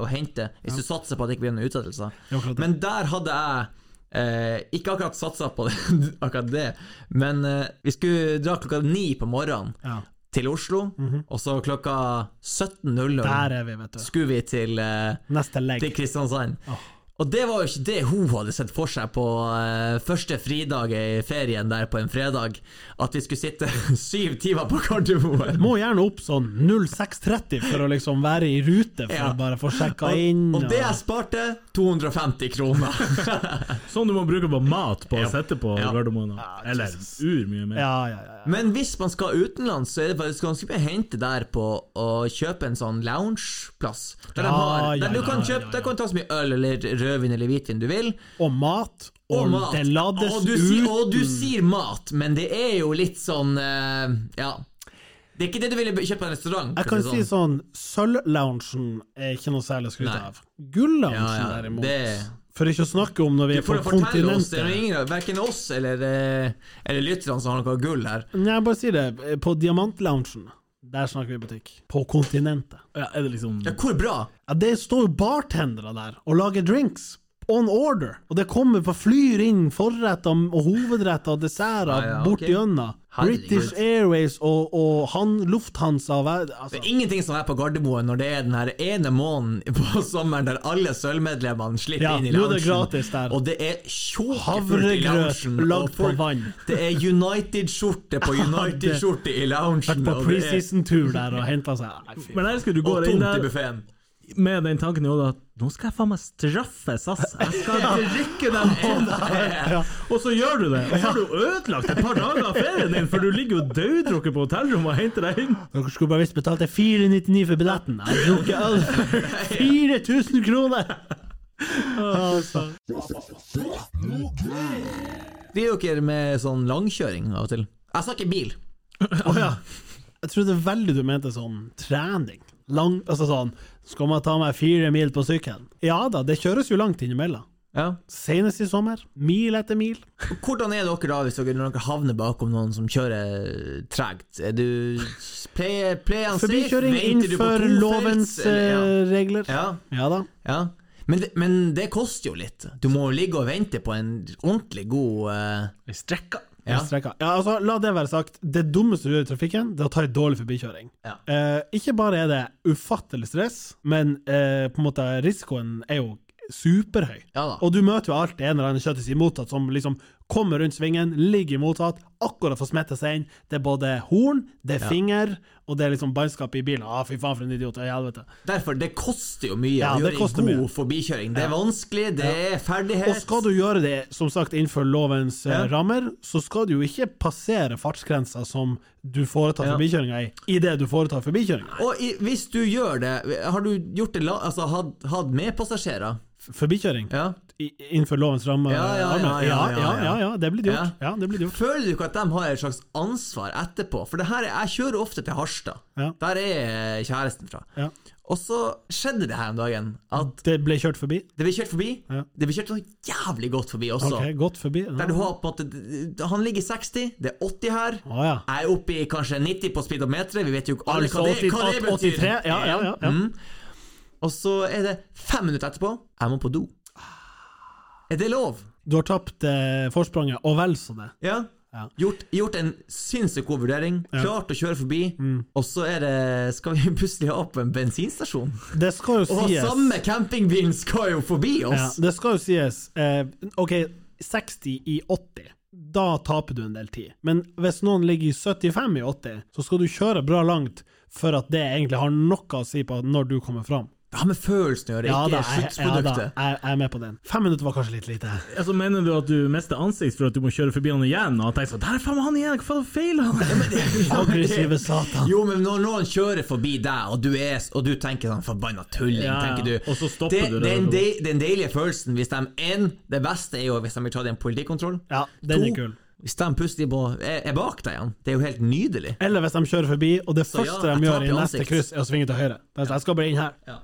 S4: å hente, hvis du satser på at det ikke blir noen utsettelser.
S2: Ja, akkurat det.
S4: Men der hadde jeg Eh, ikke akkurat satsa på det, akkurat det, men eh, vi skulle dra klokka ni på morgenen
S2: Ja,
S4: til Oslo, og så klokka 17.00
S2: Mhm. der er vi, vet du.
S4: skulle vi til eh,
S2: Neste legg.
S4: til Kristiansand.
S2: Åh.
S4: Og det var jo ikke det hun hadde sett for seg på eh, første fridag i ferien der på en fredag. At vi skulle sitte syv timer på Gardermoen.
S2: Må gjerne opp sånn 06.30 for å liksom være i rute, for
S4: Ja.
S2: å bare få sjekka inn.
S4: Og, og det jeg sparte 250 kroner.
S1: Sånn du må bruke på mat på å sette på
S4: Ja.
S1: Gardermoen. Eller ur mye mer.
S2: ja, ja, ja, ja.
S4: Men hvis man skal utenlands, så er det faktisk ganske mye å hente der på å kjøpe en sånn loungeplass. Der, de
S2: Ja,
S4: har,
S2: ja,
S4: der du
S2: ja,
S4: kan
S2: ja,
S4: kjøpe Der kan du ta så mye øl eller rødvin eller hvitvin du vil.
S2: Og mat. Og,
S4: Og mat.
S2: det lades
S4: og, du sier,
S2: ut.
S4: og du sier mat, men det er jo litt sånn eh, Ja. Det er ikke det du ville kjøpt på en restaurant.
S2: Jeg
S4: for å
S2: kan
S4: det
S2: si sånn, sølvloungen er ikke noe særlig å skryte
S4: Nei.
S2: av. Gulloungen,
S4: Ja, ja,
S2: derimot
S4: det-
S2: For ikke å snakke om når vi
S4: Du
S2: er sånn på
S4: får fortelle oss, det er
S2: kontinentet.
S4: ingen, verken oss eller, eh, eller lytterne som har noe gull her.
S2: Nei, jeg bare sier det. På Diamantloungen, der snakker vi butikk. På kontinentet.
S1: Ja, er det liksom
S4: Ja, hvor bra!
S2: Ja, det står jo bartendere der og lager drinks. On order. Og det kommer på flyr inn forretter og hovedretter og desserter
S4: Ja, ja,
S2: bort
S4: ok.
S2: gjennom.
S4: Herregud.
S2: British Airways og, og han, Lufthansa og hva- altså,
S4: Det er ingenting som er på Gardermoen når det er den her ene måneden på sommeren der alle sølvmedlemmene slipper
S2: Ja,
S4: inn i
S2: nå er
S4: loungen.
S2: det gratis der.
S4: Og det er tjåkefullt i
S2: Havregrøt
S4: loungen. og
S2: lagd på
S4: folk-
S2: vann.
S4: Det er United-skjorte på United-skjorte i loungen.
S2: Vært på
S4: og det er-
S2: preseason-tur der og henta seg Nei, fy.
S1: Men jeg elsker du
S4: Og
S1: går inn
S4: tomt i
S1: der
S4: buffeen.
S1: med den tanken i hodet at nå skal jeg faen meg straffe SAS. Jeg skal drikke dem inn her. Og så gjør du det. Og så har du ødelagt et par dager av ferien din, for du ligger jo dauddrukket på hotellrommet og henter deg inn.
S2: Dere skulle bare visst betalt 499 for billetten. Jeg har drukket øl for 4000 kroner! Altså.
S4: Driver dere med sånn langkjøring av og til? Jeg snakker bil.
S2: Å ja. Jeg trodde veldig du mente sånn trening. Lang, altså sånn Skal man ta meg fire mil på sykkelen? Ja da, det kjøres jo langt innimellom.
S4: Ja.
S2: Senest i sommer. Mil etter mil.
S4: Hvordan er dere da hvis dere, når dere havner bakom noen som kjører tregt? Er du pleier, pleier han
S2: Forbikjøring
S4: safe? Venter du på
S2: innenfor
S4: to
S2: lovens
S4: felts, eller-
S2: eh, regler.
S4: Ja,
S2: Ja da.
S4: ja. ja. Men, det, men det koster jo litt. Du må jo ligge og vente på en ordentlig god eh,
S1: Vi strekker.
S4: ja.
S2: Jeg strekker. Ja, altså, la det være sagt. Det dummeste du gjør i trafikken, det er å ta en dårlig forbikjøring.
S4: Ja.
S2: Eh, ikke bare er det ufattelig stress, men eh, på en måte risikoen er jo superhøy.
S4: Ja da.
S2: Og du møter jo alltid en eller annen kjøttis i mottatt som liksom kommer rundt svingen, ligger i mottatt, akkurat får smette seg inn. Det er både horn, det er finger, og det er liksom bannskap i bilen. Ah, fy faen, for en idiot. Ja, helvete.
S4: Derfor, det koster jo mye
S2: Ja,
S4: å
S2: det
S4: gjøre
S2: koster
S4: en god
S2: mye.
S4: forbikjøring. Det er vanskelig, det er ferdighet.
S2: Og skal du gjøre det, som sagt, innenfor lovens eh,
S4: Ja.
S2: rammer, så skal du jo ikke passere fartsgrensa som du foretar
S4: Ja.
S2: forbikjøringa i, idet du foretar forbikjøringa.
S4: Og i, hvis du gjør det, har du gjort det la, altså, hatt, hatt med passasjerer?
S2: F- Forbikjøring?
S4: Ja.
S2: I, innenfor lovens rammer?
S4: Ja, ja, ja,
S2: rammer. ja,
S4: ja, ja,
S2: ja, ja, ja, det blir det gjort. Ja,
S4: Ja.
S2: det blir det gjort.
S4: Føler du ikke at de har et slags ansvar etterpå? For det her, er- jeg kjører ofte til Harstad.
S2: Ja.
S4: Der er eh, kjæresten fra.
S2: Ja.
S4: Og så skjedde det her om dagen. At
S2: Det ble kjørt forbi?
S4: det ble kjørt forbi.
S2: Ja.
S4: Det ble kjørt sånn jævlig godt forbi også.
S2: Ok, godt forbi. Ja.
S4: Der du har på en måte Han ligger i 60, det er 80 her.
S2: Å, ja.
S4: Jeg er oppe i kanskje 90 på speedometeret, vi vet jo ikke alle
S2: Altså
S4: hva det,
S2: 80,
S4: hva det betyr. Mm.
S2: 83? Ja, ja, ja. ja.
S4: Og så er det fem minutter etterpå, jeg må på do. Er det lov?
S2: Du har tapt eh, forspranget, og vel så det.
S4: Ja.
S2: Ja.
S4: Gjort, gjort en sinnssykt god vurdering, klart å kjøre forbi,
S2: Mm.
S4: og så er det, skal vi plutselig ha opp en bensinstasjon.
S2: Det skal jo
S4: Og
S2: sies
S4: samme campingbilen skal jo forbi
S2: ja,
S4: oss!
S2: Det skal jo sies eh, OK, 60 i 80. Da taper du en del tid. Men hvis noen ligger i 75 i 80, så skal du kjøre bra langt for at det egentlig har noe å si på når du kommer fram.
S4: Det har med følelsen å gjøre, ikke
S2: jeg, ja, da jeg,
S4: sluttproduktet.
S2: jeg er med på den. Fem minutter var kanskje litt lite.
S1: Altså, mener du at du mister ansikt for at du må kjøre forbi han igjen? Og at jeg sånn Der er faen meg han igjen! Hva faen feiler han?
S2: Aggressive satan.
S4: Jo, men når noen kjører forbi deg, og du, er, og du tenker sånn 'forbanna tulling',
S1: Ja, ja.
S4: tenker du.
S1: Og så stopper
S4: det,
S1: du det.
S4: Den, de, den deilige følelsen hvis de en, Det beste er jo hvis de blir tatt i en politikkontroll.
S2: Ja, den
S4: To,
S2: er kul.
S4: Hvis de plutselig må- er, er bak deg igjen. Det er jo helt nydelig.
S2: Eller hvis de kjører forbi, og det
S4: Så ja,
S2: første de
S4: jeg taper
S2: gjør i
S4: i
S2: neste
S4: ansikt.
S2: kryss, er å svinge til høyre. Det er sånn, Jeg skal bare inn her.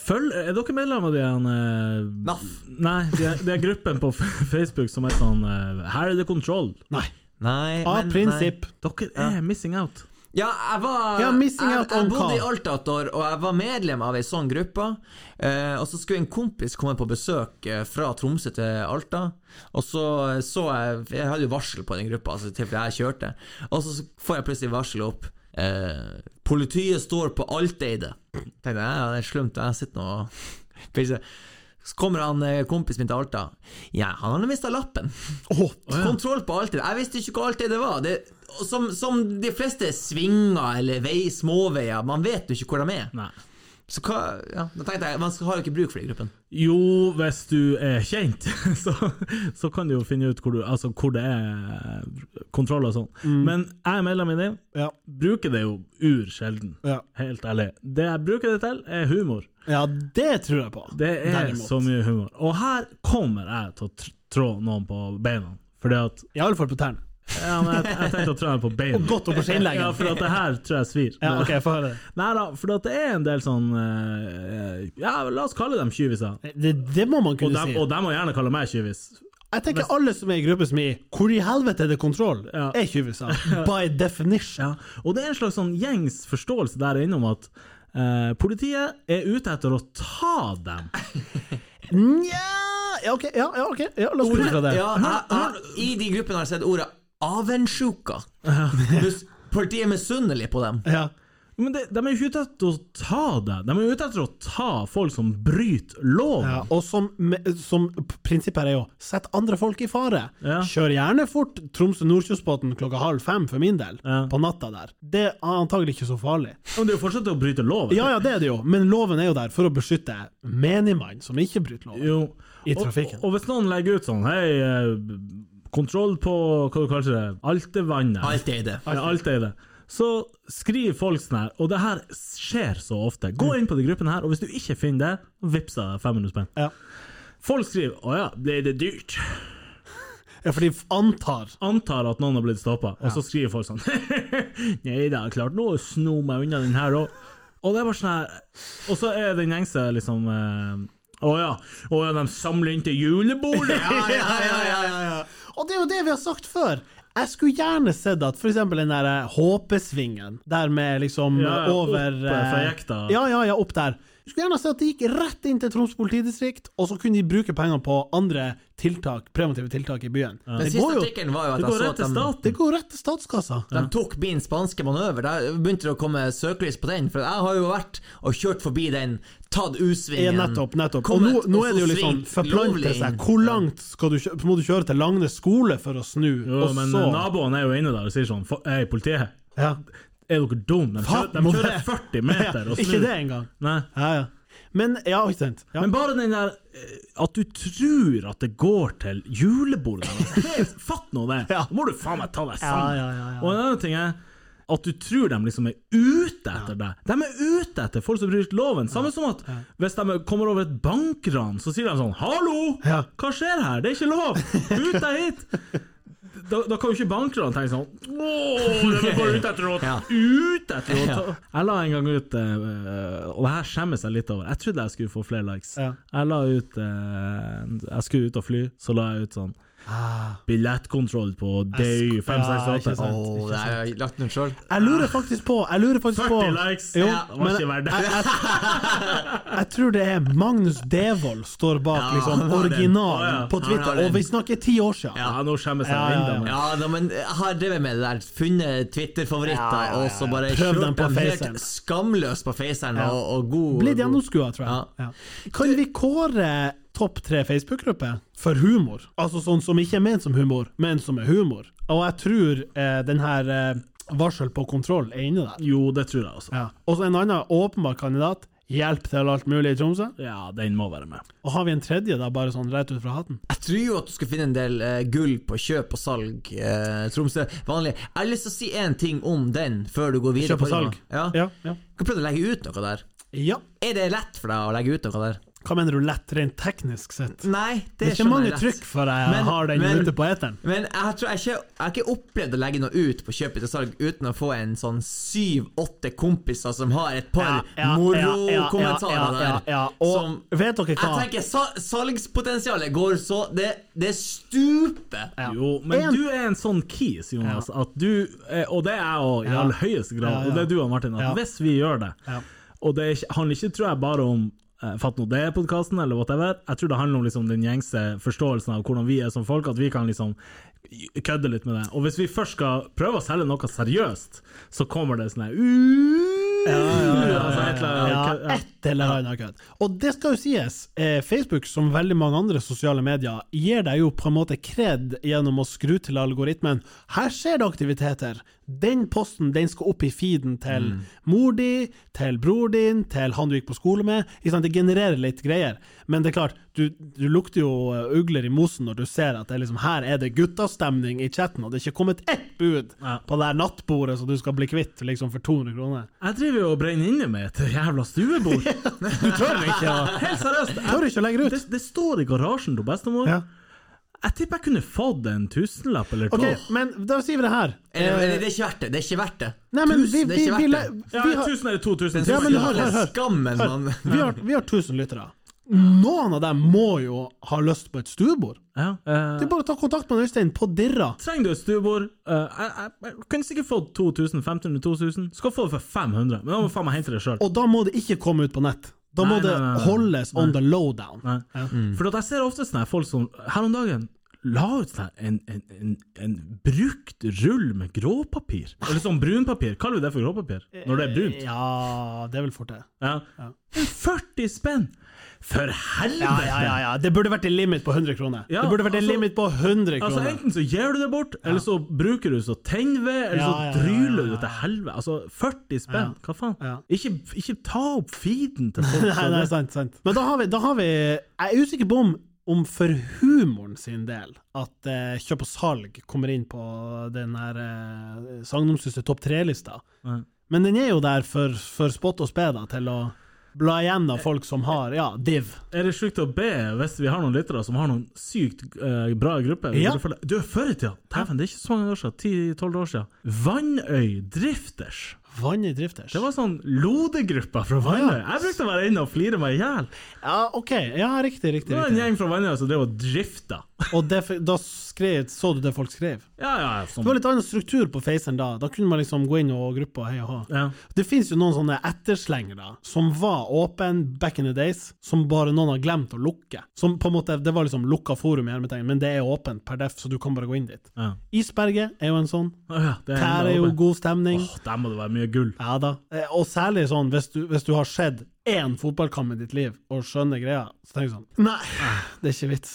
S1: Følg, er dere medlem av de han eh,
S4: Naff.
S1: Nei, det er, det er gruppen på Facebook som er sånn eh, Her er det kontroll.
S2: Nei.
S4: Nei,
S2: Av prinsipp.
S1: Dere er missing out.
S4: Nei. Ja, jeg var
S2: Ja, missing out
S4: jeg,
S2: on
S4: jeg bodde
S2: hva?
S4: i Alta et år, og jeg var medlem av ei sånn gruppe. Eh, og så skulle en kompis komme på besøk eh, fra Tromsø til Alta. Og så eh, så jeg Jeg hadde jo varsel på den gruppa, altså til jeg kjørte. Og så får jeg plutselig varsel opp. Eh, politiet står på Alteide. Tenkte jeg, ja, det er slumt, jeg sitter nå og pilser. Så kommer han eh, kompisen min til Alta. Ja, han har mista lappen. Kontroll på Altid. Jeg visste ikke hva Altid det var. Det, som, som de fleste svinger eller vei, småveier, man vet jo ikke hvor de er.
S1: Nei.
S4: Så hva, ja, da tenkte jeg, man skal- har jo ikke bruk for den gruppen.
S1: Jo, hvis du er kjent, så, så kan du jo finne ut hvor, du, altså, hvor det er kontroll og sånn. Men jeg er medlem i det.
S2: Ja.
S1: Bruker det jo ur sjelden.
S2: Ja.
S1: Helt ærlig. Det jeg bruker det til, er humor.
S2: ja, det tror jeg på.
S1: Det er
S2: Derimot.
S1: så mye humor. Og her kommer jeg til å tr trå noen på beina. Fordi at
S2: Iallfall på tærne.
S1: Ja, men jeg, jeg tenkte å trå dem på beina.
S2: Og godt opp på skinnleggen.
S1: Ja, for at det her tror jeg svir.
S2: Ja, OK, få høre.
S1: Nei da, for at det er en del sånn eh, Ja, la oss kalle dem kyviser.
S2: det. Det, det må man
S1: Og
S2: kunne
S1: de,
S2: si.
S1: og de må gjerne kalle meg kyvis.
S2: Jeg tenker alle som er i gruppe som er i 'Hvor i helvete er det kontroll?'
S1: Ja.
S2: er tjuviser. By definition.
S1: Ja, og det er en slags sånn gjengs forståelse der inne om at eh, politiet er ute etter å ta dem.
S2: Nja ja, OK, ja, ja, ok, ja, la oss gå ut fra det.
S4: Ja, jeg, jeg, I de gruppene har jeg sett ordet avensjuka. Hvis Partiet er misunnelig på dem.
S2: Ja.
S1: Men de, de er jo ikke ute etter å ta deg, de er jo ute etter å ta folk som bryter loven.
S2: Ja, og som, som prinsippet her er jo sett andre folk i fare.
S1: Ja.
S2: Kjør gjerne fort Tromsø-Nordkjosbotn klokka halv fem for min del,
S1: Ja.
S2: på natta der. Det er antagelig ikke så farlig.
S1: Men det er jo fortsatt å bryte loven.
S2: Ja ja, det er det jo, men loven er jo der for å beskytte menigmann som ikke bryter loven.
S1: Jo.
S2: I trafikken.
S1: Og, og hvis noen legger ut sånn Hei, eh, kontroll på hva du kaller det? Altevannet.
S4: Alt er i det.
S1: Ja, alt er det. Så skriv folk sånn her, og det her skjer så ofte. Gå inn på de gruppene her, og hvis du ikke finner det, vips deg 500 spenn.
S2: Ja.
S1: Folk skriver 'Å ja, ble det dyrt?'
S2: Ja, for de antar
S1: Antar at noen har blitt stoppa, og så skriver folk sånn 'Nei da, klart nå sno meg unna den her òg'. Og det er bare sånn her Og så er den gjengse liksom eh, 'Å ja, å ja, de samler inn til julebordet'.
S4: ja, ja, ja, ja, ja.
S2: Og det er jo det vi har sagt før. Jeg skulle gjerne sett at f.eks. den der eh, håpesvingen, der med liksom
S1: Ja, ja,
S2: eh, over
S1: oppe
S2: eh,
S1: fra jekta.
S2: Ja, ja, ja, opp der. Jeg skulle gjerne sett at de gikk rett inn til Troms politidistrikt, og så kunne de bruke pengene på andre tiltak, preventive tiltak i byen.
S4: Den
S2: Det
S4: siste
S2: går jo
S4: artikkelen var jo at
S1: Det
S4: jeg
S1: går
S4: så
S1: rett
S4: at
S1: til
S4: de
S1: staten.
S2: Det går rett til statskassa.
S4: De tok min spanske manøver. Der begynte det å komme søkelys på den. For jeg har jo vært og kjørt forbi den, tatt
S2: Ja,
S4: U-svingen
S2: nettopp, nettopp. Og nå,
S4: kommet,
S2: nå
S4: og
S2: er det jo
S4: så
S2: liksom
S4: svingt
S2: forplante
S4: lovlig inn.
S2: seg. Hvor langt skal du kjøre? Må du kjøre til Langnes skole for å snu?
S1: Jo,
S2: og
S1: men
S2: så
S1: naboen er jo inne der og sier sånn 'Hei, politiet,
S2: ja.
S1: er dere dumme? De
S2: Faen,
S1: kjører, de
S2: må
S1: kjører
S2: det-
S1: 40 meter og snur.'
S2: Ikke det engang.
S1: Nei.
S2: Ja, ja. Men ja, ikke sant. Ja.
S1: Men bare den der eh, At du tror at det går til julebordet deres. Fatt nå det!
S2: Ja.
S1: Da må du faen meg ta deg
S2: Ja,
S1: sammen.
S2: ja, ja, ja.
S1: Og en annen ting er at du tror de liksom er ute etter deg. De er ute etter folk som bryter loven. Samme som at hvis de kommer over et bankran, så sier de sånn 'Hallo!
S2: Ja.
S1: Hva skjer her? Det er ikke lov! Ut deg hit!' Da, da kan jo ikke bankran tenke sånn 'Å, de går ut etter å
S4: Ja.
S1: ut etter å ta Jeg la en gang ut eh, Og det her skjemmes jeg litt over. Jeg trodde jeg skulle få flere likes.
S2: Ja.
S1: Jeg la ut eh, Jeg skulle ut og fly, så la jeg ut sånn billettkontroll på day
S2: sk- ja, ikke
S1: 568.
S2: sant.
S4: Åh, det har jeg lagt den ut sjøl.
S2: Jeg
S1: Ah.
S2: lurer faktisk på Jeg lurer
S1: 40
S2: faktisk på
S1: likes!
S2: Jo,
S1: Ja, det var
S2: men-
S1: ikke verdt det.
S2: Jeg tror det er Magnus Devold står bak
S1: Å,
S2: liksom,
S1: ja.
S2: originalen på
S4: Han har
S2: Twitter,
S4: den.
S2: og vi snakker ti år siden.
S1: Ja, nå skjemmes jeg
S2: Ja, ja, ja.
S1: enda mer.
S4: Ja, da, men jeg har drevet med det der. Funnet Twitter-favoritter, og så bare
S2: Prøv
S4: kjørt
S2: dem på
S4: helt
S2: Faceren.
S4: Skamløst på Faceren og, og god
S2: Blitt gjennomskua, tror jeg.
S4: Ja.
S2: Ja. Kan vi kåre topp tre Facebook-grupper for humor? Altså sånn som ikke er ment som humor, men som er humor. Og jeg tror eh, den her eh, varsel på kontroll er inne der.
S1: Jo, det tror jeg også.
S2: Ja. Og så en annen åpenbar kandidat. Hjelp til alt mulig i Tromsø.
S1: Ja, den må være med.
S2: Og har vi en tredje, da, bare sånn rett ut fra hatten?
S4: Jeg tror jo at du skal finne en del eh, gull på kjøp og salg, eh, Tromsø. Vanlig. Jeg har lyst til å si én ting om den før du går videre.
S2: Kjøp og salg.
S4: Ja.
S2: Ja. ja.
S4: Skal prøve å legge ut noe der.
S2: ja.
S4: Er det lett for deg å legge ut noe der?
S2: Hva mener du lett, rent teknisk sett?
S4: Nei, det,
S2: Det er ikke
S4: skjønner
S2: mange
S4: jeg lett.
S2: trykk før jeg
S4: Men-
S2: har den
S4: men-
S2: ute på eteren.
S4: Men jeg tror jeg ikke Jeg har ikke opplevd å legge noe ut på kjøp etter salg uten å få en sånn syv-åtte kompiser som har et par morokommentarer
S2: ja, ja,
S4: der.
S2: ja. Og
S4: som
S2: vet dere
S4: Jeg
S2: hva?
S4: tenker sa, salgspotensialet går så Det, det stuper!
S2: Ja.
S1: Jo, men
S2: En-
S1: du er en sånn kis, Jonas, at du, eh, og det er jeg òg, i
S2: Ja.
S1: aller høyeste grad,
S2: Ja, ja.
S1: og det er du og Martin, at
S2: Ja.
S1: hvis vi gjør det
S2: Ja.
S1: Og det er ikke- handler ikke, tror jeg, bare om eh, Fatt nå det-podkasten, eller whatever. Jeg tror det handler om liksom, den gjengse forståelsen av hvordan vi er som folk, at vi kan liksom kødde litt med det. Og hvis vi først skal prøve å selge noe seriøst, så kommer det sånn her «Uh», altså, et eller annet
S2: Ja,
S1: kødd- ja.
S2: et eller annet kødd. Og det skal jo sies, eh, Facebook, som veldig mange andre sosiale medier, gir deg jo på en måte kred gjennom å skru til algoritmen. Her skjer det aktiviteter! Den posten den skal opp i feeden til
S1: Mm.
S2: mor di, til bror din, til han du gikk på skole med. Ikke sant? Det genererer litt greier. Men det er klart, du, du lukter jo eh, ugler i mosen når du ser at det er liksom, her er det guttastemning i chatten, og det er ikke kommet ett bud
S1: Ja.
S2: på det her nattbordet som du skal bli kvitt liksom, for 200 kroner.
S1: Jeg driver jo og brenner inne med et jævla stuebord. Du tør ikke å Helt seriøst. jeg-
S2: Tør ikke å legge det ut.
S1: Det, det står i garasjen til bestemor.
S2: Ja.
S1: Jeg tipper jeg kunne fått en tusenlapp eller to.
S2: Ok, men da sier vi det her.
S4: Eller, eller, det er ikke verdt det. Det er ikke verdt det.
S2: Nei, men vi,
S4: Tusen, det
S2: vi,
S4: er
S2: vi,
S4: ikke
S2: vi,
S4: verdt det.
S1: ja,
S2: vi har,
S1: 1000 eller 2000.
S4: Den
S2: Ja, men
S4: sosiale
S2: hør, hør, hør.
S4: Skammen, man.
S2: vi, har, vi har 1000 lyttere. Noen av dem må jo ha lyst på et stuebord.
S1: ja. eh,
S2: Det er bare å ta kontakt med Øystein på Dirra.
S1: Trenger du et stuebord? Eh, jeg, jeg, jeg kunne sikkert fått 2500-2000. Skal få det for 500, men da må faen meg hente det sjøl.
S2: Og da må det ikke komme ut på nett. Da må
S1: Nei, nei,
S2: det
S1: nei, nei.
S2: holdes on the lowdown. Ja.
S1: For at jeg ser ofte sånne her folk som her om dagen la ut sånn her en, en, en, en brukt rull med gråpapir. Eller sånn brunpapir. Kaller vi det for gråpapir? Når det er brunt?
S2: Ja, det er vel fort det.
S1: Ja. 40 spenn! For helvete!
S2: Ja, ja, ja, ja. Det burde vært en limit på 100 kroner.
S1: Ja,
S2: det burde vært en
S1: altså-
S2: limit på 100
S1: Altså
S2: kroner.
S1: Enten så gir du det bort, eller så bruker du så tenn ved, eller
S2: Ja,
S1: så
S2: ja, ja,
S1: dryler
S2: ja,
S1: du til helvete. Altså, 40 spenn,
S2: Ja.
S1: hva faen?
S2: Ja.
S1: Ikke, ikke ta opp feeden til folk.
S2: Nei, nei, sant, sant. Men da har vi, da har vi Jeg er usikker på om, om for humoren sin del at eh, kjøp og salg kommer inn på den her eh, sagnomsuste topp tre-lista.
S1: Ja.
S2: Men den er jo der for, for spott og spe, da, til å bla igjen av folk som har ja, div.
S1: Er det sjukt å be hvis vi har noen lyttere som har noen sykt eh, bra grupper? Vi
S2: Ja.
S1: burde følge- Du, før i tida, dæven, det er ikke så mange år siden, 10-12 år siden, Vannøy Drifters.
S2: Vann i drifters.
S1: Det var sånn lodegruppa fra Vannøy. Jeg brukte å være inne og flire meg i hjel.
S2: Ja, OK. Ja, riktig, riktig.
S1: Det var en
S2: riktig.
S1: gjeng fra Vannøy som drev og drifta.
S2: Og det, da skrev, så du det folk skrev?
S1: Ja, ja, ja,
S2: Det var
S1: sånn.
S2: litt annen struktur på Faceren da. Da kunne man liksom gå inn og gruppe og hei og hå.
S1: Ja.
S2: Det finnes jo noen sånne etterslengere som var åpen back in the days, som bare noen har glemt å lukke. Som på en måte, Det var liksom lukka forum, i hermetegn, men det er åpent per def, så du kan bare gå inn dit.
S1: Ja.
S2: Isberget er jo en sånn.
S1: Å ja, det er
S2: Her
S1: enda
S2: er jo
S1: oppe.
S2: god stemning.
S1: Åh, Der må det være mye gull.
S2: Ja da. Eh, Og særlig sånn hvis du, hvis du har sett én fotballkamp i ditt liv og skjønner greia, så tenker du sånn Nei,
S1: Ah.
S2: det er ikke vits.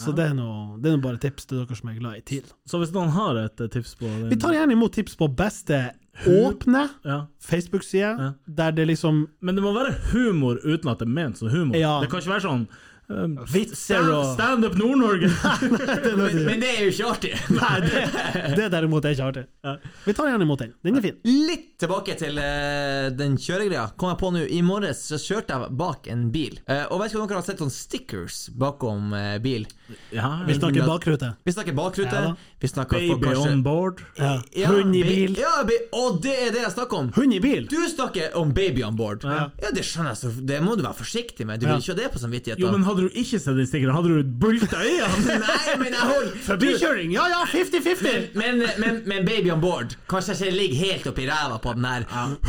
S2: Så det er nå det er nå bare tips til dere som er glad i TIL.
S1: Så hvis noen har et eh, tips på den
S2: Vi tar gjerne imot tips på beste åpne
S1: ja.
S2: Facebook-side,
S1: Ja.
S2: der det liksom
S1: Men det må være humor uten at det er ment som humor.
S2: Ja.
S1: Det kan ikke være sånn um,
S2: Vitser
S1: stand,
S2: og-
S1: stand up Nord-Norge!
S4: Men, men det er jo ikke artig.
S2: Nei, det, det derimot er ikke artig. Vi tar gjerne imot den. Den er fin.
S4: Litt tilbake til eh, den kjøregreia. Kom jeg på nå, I morges så kjørte jeg bak en bil. Eh, og vet ikke om dere har sett sånne stickers sånn bakom eh, bil?
S1: Ja,
S2: Vi snakker bakrute.
S4: Vi snakker bakrute.
S2: Ja da.
S4: vi snakker folk
S1: baby
S4: kanskje-
S1: on board.
S2: Ja.
S4: Ja,
S2: Hund i
S4: ba-
S2: bil.
S4: Ja, ba- og det er det jeg snakker om!
S2: Hund i bil!
S4: Du snakker om baby on board. Ja,
S2: Ja.
S4: det skjønner jeg, så det må du være forsiktig med. Du
S2: Ja.
S4: vil ikke ha det på samvittigheten.
S1: Jo, men hadde du ikke sett den stikkeren, hadde du bulta i han!
S4: Nei, men jeg holder
S2: Forbikjøring! Ja ja,
S4: Men,
S2: 50-50!
S4: men, men, men baby on board Kanskje jeg ikke ligger helt oppi ræva på den her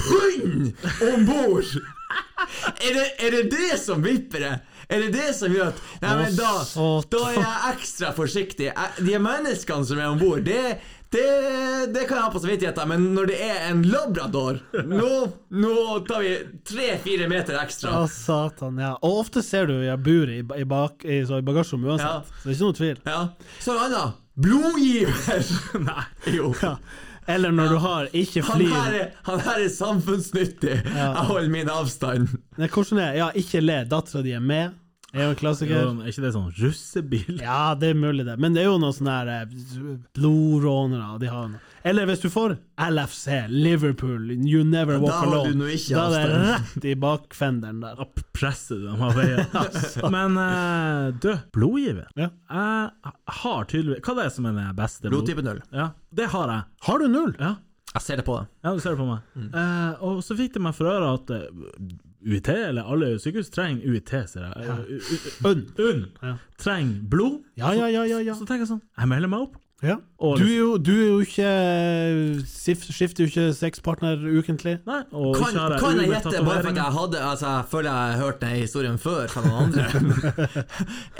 S4: Hund om bord! Er det, er det det som vipper det? Er det det som gjør at Nei, men da,
S2: Å,
S4: da er jeg ekstra forsiktig. Jeg, de menneskene som er om bord, det, det, det kan jeg ha på samvittigheten, men når det er en labrador Nå, nå tar vi tre-fire meter ekstra.
S2: Å, satan, ja. Og ofte ser du jeg bor i, ba- i, bak, i, så i bagasjerommet
S4: Ja.
S2: uansett, så det er ikke noe tvil.
S4: Ja. Så er det Anna. Blodgiver! Nei. Jo.
S2: Ja. Eller når du har ikke
S4: Han
S2: flir
S4: her, er, han her er samfunnsnyttig. Jeg holder min avstand.
S2: Nei, hvordan er Ja, ikke le. Dattera di er med. Er jo en klassiker.
S1: Er ikke det sånn russebil?
S2: Ja, det er mulig, det. Men det er jo noen sånne her eh, blodrånere. og De har noe. Eller hvis du får LFC, Liverpool, You Never Walk
S4: har du
S2: Alone.
S4: nå ikke
S2: da er det rett i bakfenderen der.
S1: Opp presser du dem av veien. Men eh, du, blodgiver.
S2: Ja.
S1: Jeg har tydeligvis Hva det er som er den beste blod-
S4: Blodtype null.
S1: Ja, det har jeg.
S2: Har du null?
S1: Ja,
S4: Jeg ser det på deg.
S1: ja du ser det på meg. Eh, og så fikk de meg for øre at eh, UiT, eller alle sykehus, trenger UiT, ser jeg. U-
S2: Unn.
S1: U- UNN
S2: Ja.
S1: trenger blod.
S2: Ja, ja, ja, ja. ja.
S1: Så tenker jeg sånn, jeg melder meg opp.
S2: ja.
S1: Og-
S2: Du, er jo, du er jo ikke sif- Skifter jo ikke sexpartner ukentlig.
S1: Nei, og
S4: Kan,
S1: ikke har
S4: kan jeg
S1: ubetatt
S4: gjette, bare for at
S1: tatoveringer.
S4: jeg hadde Altså, jeg føler jeg har hørt den historien før fra noen andre.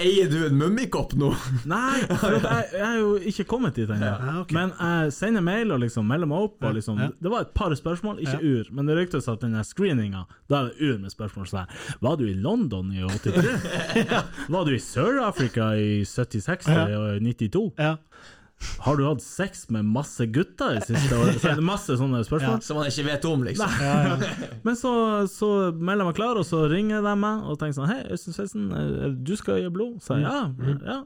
S4: Eier du en mummikopp nå?
S1: Nei, for at jeg, jeg er jo ikke kommet dit ennå.
S2: Ja, ok.
S1: Men jeg sender mail og liksom melder meg opp. Og liksom,
S2: Ja.
S1: Det var et par spørsmål, ikke ur. Men det ryktes at den screeninga, da er det ur med spørsmål sånn her Var du i London i 83? Var du i Sør-Afrika i 76
S2: Ja.
S1: og 92?
S2: Ja.
S1: Har du hatt sex med masse gutter det siste året? Så er det masse sånne spørsmål.
S4: Som man ikke vet om, liksom.
S1: Men så, så melder jeg meg klar, og så ringer de meg og tenker sånn Hei, Øystein Svendsen, eh, du skal gi blod? Så jeg ja, ja.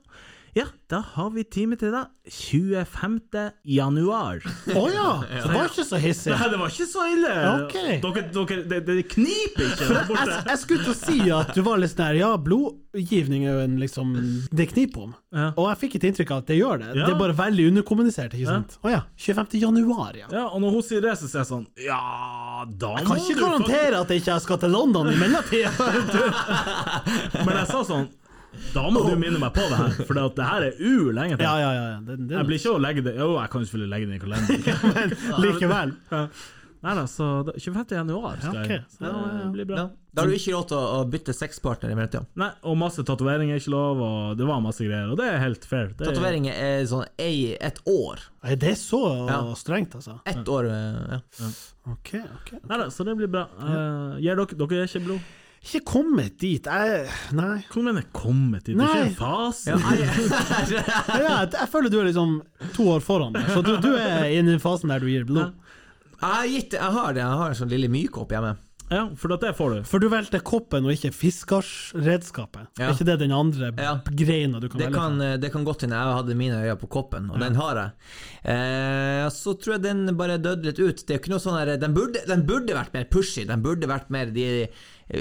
S1: Ja, da har vi time til deg. 25. januar. Nei,
S2: Å ja! Det var ikke så hissig.
S1: det var ikke så ille!
S2: Ok.
S1: Dere, dere det, det kniper ikke der borte.
S2: Jeg, jeg skulle til å si at du var litt sånn her Ja, blodgivning er jo en liksom Det kniper om.
S1: Ja.
S2: Og jeg fikk et inntrykk av at det gjør det.
S1: Ja.
S2: Det er bare veldig underkommunisert, ikke sant? Å ja. 25. januar, ja.
S1: Ja, og når hun sier det, så sier jeg sånn Ja, da må
S2: Kan ikke
S1: du faktisk-
S2: garantere at jeg ikke skal til London i mellomtida!
S1: Men jeg sa sånn Da må du minne meg på det her, for det at det her er u lenge til.
S2: Ja, ja, ja. ja. Det, det,
S1: Jeg blir ikke å legge det Jo, jeg kan jo selvfølgelig legge det i kalenderen.
S2: Likevel.
S1: Nei da, så da- 25. januar. skal jeg-
S2: Ja, ok.
S1: Så det blir bra.
S4: Ja. Da har du ikke råd til å, å bytte sexpartner i mellomtida.
S1: Nei, og masse tatoveringer er ikke lov, og det var masse greier, og det er helt fair. Det er-
S4: Tatoveringer er sånn ei, ett år.
S2: Nei, Det er så
S4: Ja.
S2: strengt, altså.
S4: Ett år eh, ja.
S2: Ok, ok.
S1: Neida, så det blir bra. Eh, gir dere, dere gir ikke blod?
S2: Ikke kommet dit. Jeg Nei.
S1: Hva mener du kommet dit? Det er ikke en fase?
S2: Ja, jeg, jeg føler du er liksom to år foran meg, så du, du er i den fasen der du gir blod.
S4: Jeg har gitt Jeg har det. Jeg har en sånn lille mykopp hjemme.
S1: Ja, for at det får du.
S2: For du valgte koppen og ikke fiskersredskapet.
S4: Ja.
S2: Er ikke det den andre
S4: Ja.
S2: greina du kan sånn. velge?
S4: Det kan, eh, det kan godt hende jeg hadde mine øyne på koppen, og den har jeg. Eh, så tror jeg den bare døde litt ut. Det er jo ikke noe sånn her, den, burde, den burde vært mer pushy. Den burde vært mer de eh,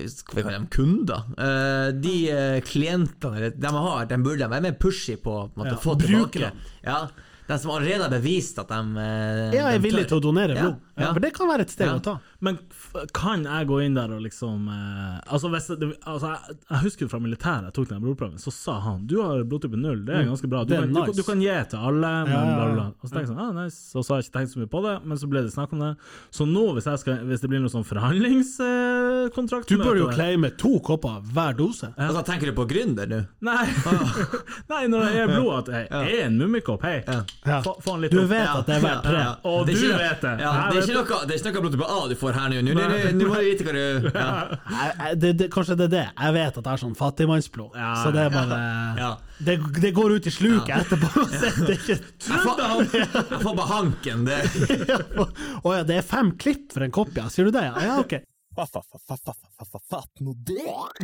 S4: Skal vi kalle dem kunder? Eh, de eh, klientene eller de jeg har, den burde være mer pushy på, på en måte,
S2: Ja,
S4: å få
S2: brukerne.
S4: tilbake. Ja, de som allerede har bevist at de eh,
S2: Ja, jeg er
S4: de
S2: villig til
S4: tør.
S2: å donere
S4: Ja,
S2: blod. Ja,
S4: ja.
S2: For det kan være et steg
S4: Ja.
S2: å ta.
S1: Men f kan jeg gå inn der og liksom eh, Altså, hvis det, altså jeg, jeg husker fra militæret jeg tok den blodprøven, så sa han du har blodtype null, det er ganske bra. Du
S2: Mm. Det er
S1: kan, du,
S2: nice.
S1: du kan gi til alle, men
S2: Ja, ja, ja.
S1: bla, bla, bla. Og så tenkte jeg sånn, ah, nice. Og så har jeg ikke tenkt så mye på det, men så ble det snakk om det. Så nå, hvis, jeg skal, hvis det blir noe sånn forhandlingskontrakt
S2: Du bør jo claime to kopper hver dose.
S4: Altså, tenker du på gründer nå?
S1: Nei. Nei, når det er blod at jeg er en mummikopp, hei.
S2: Ah. Ja.
S1: Få, få han litt
S2: Du
S1: opp.
S2: vet at det er hver tre.
S4: Ja, ja.
S1: Og
S4: Det er
S1: du
S4: ikke-
S1: vet det.
S4: Ja,
S1: Jeg
S4: det, er
S1: vet
S4: ikke noe, det er ikke noe blodtype A du får her nå. Nå- Nå nå må du vite hva du ja.
S2: Jeg- jeg- Det, det, kanskje det er det. Jeg vet at jeg har sånn fattigmannsblod,
S1: Ja,
S2: så det er bare
S4: Ja.
S2: det, det går ut i sluket etterpå. Så det er ikke
S4: Jeg får, jeg får bare hanken. Det.
S2: Ja, Å ja, det er fem klipp for en kopp, ja. Sier du det? Ja, ja ok.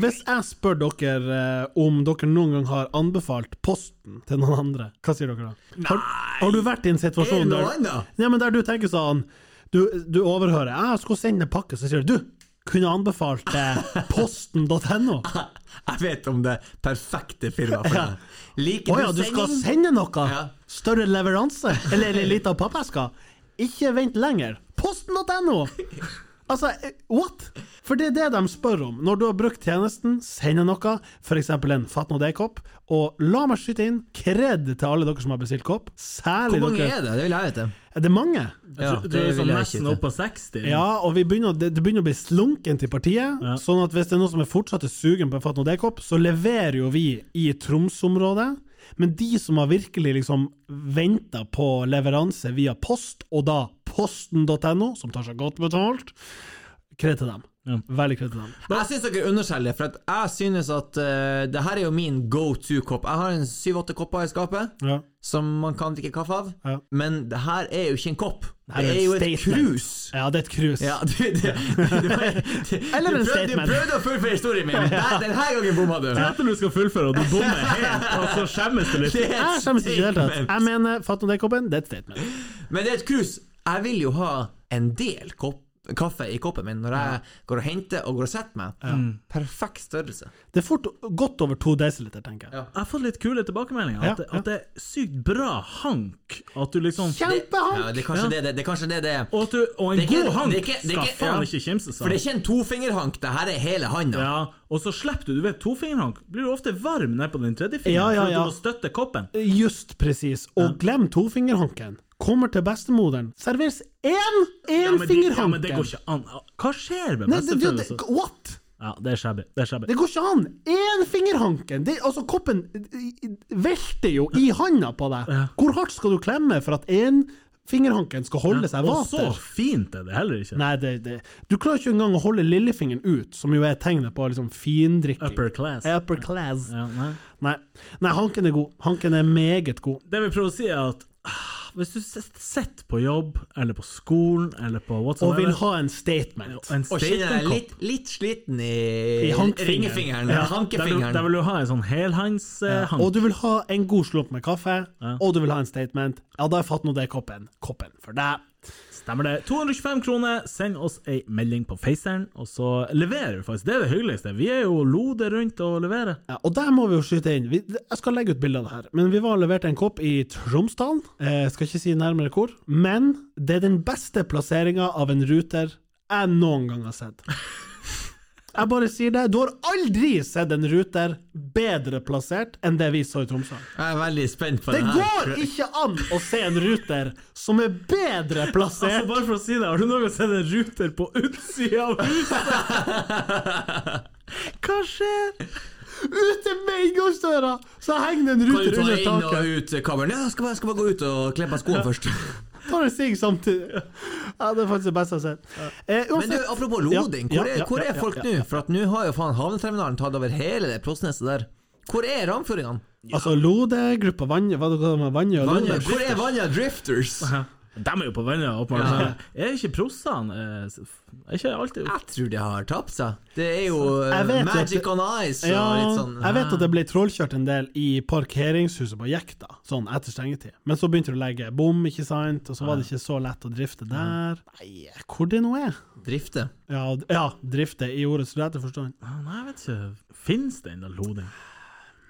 S2: Hvis jeg spør dere eh, om dere noen gang har anbefalt posten til noen andre, hva sier dere da? Har, har du vært i en
S4: Er det
S2: situasjon
S4: noe
S2: der,
S4: annet?
S2: ja, men der du tenker sånn du, du overhører 'Jeg skulle sende en pakke', så sier du 'Du, kunne anbefalt eh, posten.no.
S4: Jeg vet om det perfekte firmaet for deg. Liker
S2: Å ja, du skal
S4: sending?
S2: sende noe?
S4: Ja.
S2: Større leveranse? Eller ei lita pappeske? Ikke vent lenger. Posten.no! Altså, eh, what? For det er det de spør om. Når du har brukt tjenesten, sender noe, f.eks. en Fatno D-kopp, og la meg skyte inn kred til alle dere som har bestilt kopp, særlig
S4: Hvor
S2: dere
S4: mange er det? Det vil jeg vite.
S2: Er det mange?
S4: Ja,
S1: Jeg tror det er sånn
S4: vil jeg
S1: nesten
S4: ikke
S1: opp på 60.
S2: Ja, og vi begynner, å- det, det begynner å bli slunkent i partiet. Sånn at hvis det er noen som er fortsatt er sugen på en Fatno D-kopp, så leverer jo vi i Tromsø-området. Men de som har virkelig liksom venta på leveranse via post, og da posten.no, som tar seg godt betalt, kred til dem.
S1: Ja.
S2: Veldig kred til dem.
S4: Jeg syns dere underskjeller det, for at jeg synes at eh, det her er jo min go to-kopp. Jeg har en syv-åtte kopper i skapet
S2: Ja.
S4: som man kan drikke kaffe av,
S2: Ja.
S4: men det her er jo ikke en kopp.
S2: her er
S4: Det er
S2: et
S4: jo et
S2: statement.
S4: krus.
S2: ja, det er et cruise.
S4: Ja, du, du, du, du,
S2: Eller en
S4: du prøvde,
S2: statement.
S4: du prøvde å fullføre historien min, men der- denne gangen bomma du.
S1: Etter du skal fullføre, og du bommer helt, og så skjemmes du litt.
S4: Det er et
S2: Jeg skjemmes ikke i det hele tatt.
S4: statement.
S2: Jeg mener Fatno D-koppen, det er et statement.
S4: Men det er et krus. Jeg vil jo ha en del kopp, kaffe i koppen min når jeg går og henter og går og setter meg. Perfekt størrelse.
S2: Det er fort godt over to desiliter, tenker jeg.
S4: Ja.
S1: Jeg har fått litt kule tilbakemeldinger. At,
S2: Ja, ja.
S1: at det er sykt bra hank. At du liksom
S2: Kjempehank!
S4: Ja, det er kanskje
S1: Ja.
S4: det det, det, er kanskje det, det er.
S1: Og, at du, og en
S4: Det er ikke-
S1: god hank
S4: det er ikke- det er
S1: skal
S4: ikke-
S1: faen
S4: ja.
S1: ikke kimses
S4: For
S1: av.
S4: det er ikke en tofingerhank, det her er hele handa.
S1: Ja, og så slipper du. Du vet, tofingerhank blir du ofte varm ned på den tredje fingeren
S2: Ja, ja,
S1: for at
S2: ja.
S1: du må støtte koppen.
S2: Just presis. Og glem tofingerhanken. Kommer til bestemoderen, serveres én
S1: Ja, men, det, ja, men
S2: énfingerhanken!
S1: det går ikke an. Ah, Hva skjer med
S2: Nei, det, det,
S1: bestefrøen?
S2: det, what?!
S1: Ja, det er shabby. Det er shabby.
S2: Det går ikke an! Énfingerhanken! Det- Altså, koppen eh, velter jo i handa på deg.
S1: Ja.
S2: Hvor hardt skal du klemme for at énfingerhanken skal holde seg
S1: og så
S2: vater?
S1: fint er det heller ikke.
S2: Nei, det, det. Du klarer ikke engang å holde lillefingeren ut, som jo er tegnet på liksom findrikking.
S1: Upper class.
S2: Upper class.
S1: Ja, nei.
S2: Nei. Nei, hanken er god. Hanken er meget god.
S1: Det vi prøver å si, er at ah, hvis du sitter på jobb, eller på skolen, eller på
S2: Og
S1: whatsoever
S2: vil ha en statement.
S1: en
S4: Og kjenner deg
S1: statement-kopp.
S4: litt, litt sliten i,
S2: I hankfingeren.
S4: ringefingeren.
S1: Der
S2: Ja,
S1: vil,
S4: Hankefingeren.
S1: der vil du ha en sånn helhandshank.
S2: Og du vil ha en god slump med kaffe, og du vil ha en statement. Ja, da har jeg fatt nå det er koppen. Koppen for deg.
S1: Stemmer det. 225 kroner, send oss ei melding på Faceren, og så leverer vi faktisk. Det er det hyggeligste. Vi er jo lodet rundt og leverer.
S2: Ja, og der må vi jo skyte inn. Vi, jeg skal legge ut bilde av det her. Men vi var og leverte en kopp i Tromsdalen. Eh, skal ikke si nærmere hvor. Men det er den beste plasseringa av en ruter jeg noen gang har sett. Jeg bare sier det. Du har aldri sett en ruter bedre plassert enn det vi så i Tromsø.
S4: Jeg er veldig spent på
S2: Det
S4: det,
S2: går
S4: her.
S2: ikke an å se en ruter som er bedre
S1: Altså,
S2: plassert
S1: bare for å si det, har du noen gang sett en ruter på utsida av huset? Hva skjer?
S2: Ute med inngangsdøra, så henger det en
S4: Kan du
S2: ruter
S4: ta
S2: under
S4: inn og
S2: taket.
S4: ut kammeren? Ja, jeg skal bare, jeg skal bare gå ut og kle på skoene først.
S2: Tar en sigg samtidig. Ja, det er faktisk det beste jeg har sett. Eh,
S4: Men du,
S2: uansett,
S4: apropos loding,
S2: Ja,
S4: hvor
S2: ja,
S4: er,
S2: ja,
S4: hvor
S2: ja,
S4: er
S2: ja,
S4: folk
S2: ja,
S4: nå? For at nå har jo faen havneterminalen tatt over hele det Prosneset der. Hvor er ramføringene?
S2: altså Lode, gruppa Vanja, hva det kaller man Vanja og Lode?
S4: Hvor er Vanja Drifters?
S1: De er jo på vannet, åpenbart. Er ikke prossene eh, s- Er ikke alltid
S4: Jeg tror de har tapt seg. Det er jo eh,
S2: Jeg vet jo at det-
S4: Magic on Ice og
S2: Ja,
S4: litt sånn
S2: jeg vet at det ble trålkjørt en del i parkeringshuset på Jekta, sånn etter stengetid. Men så begynte du å legge bom, ikke sant, og så var det ikke så lett å drifte der. Nei, hvor det nå er?
S4: drifte.
S2: Ja, d- ja drifte i ordets rette forstand.
S1: Ah, Nei, jeg vet ikke. Fins det ennå loding?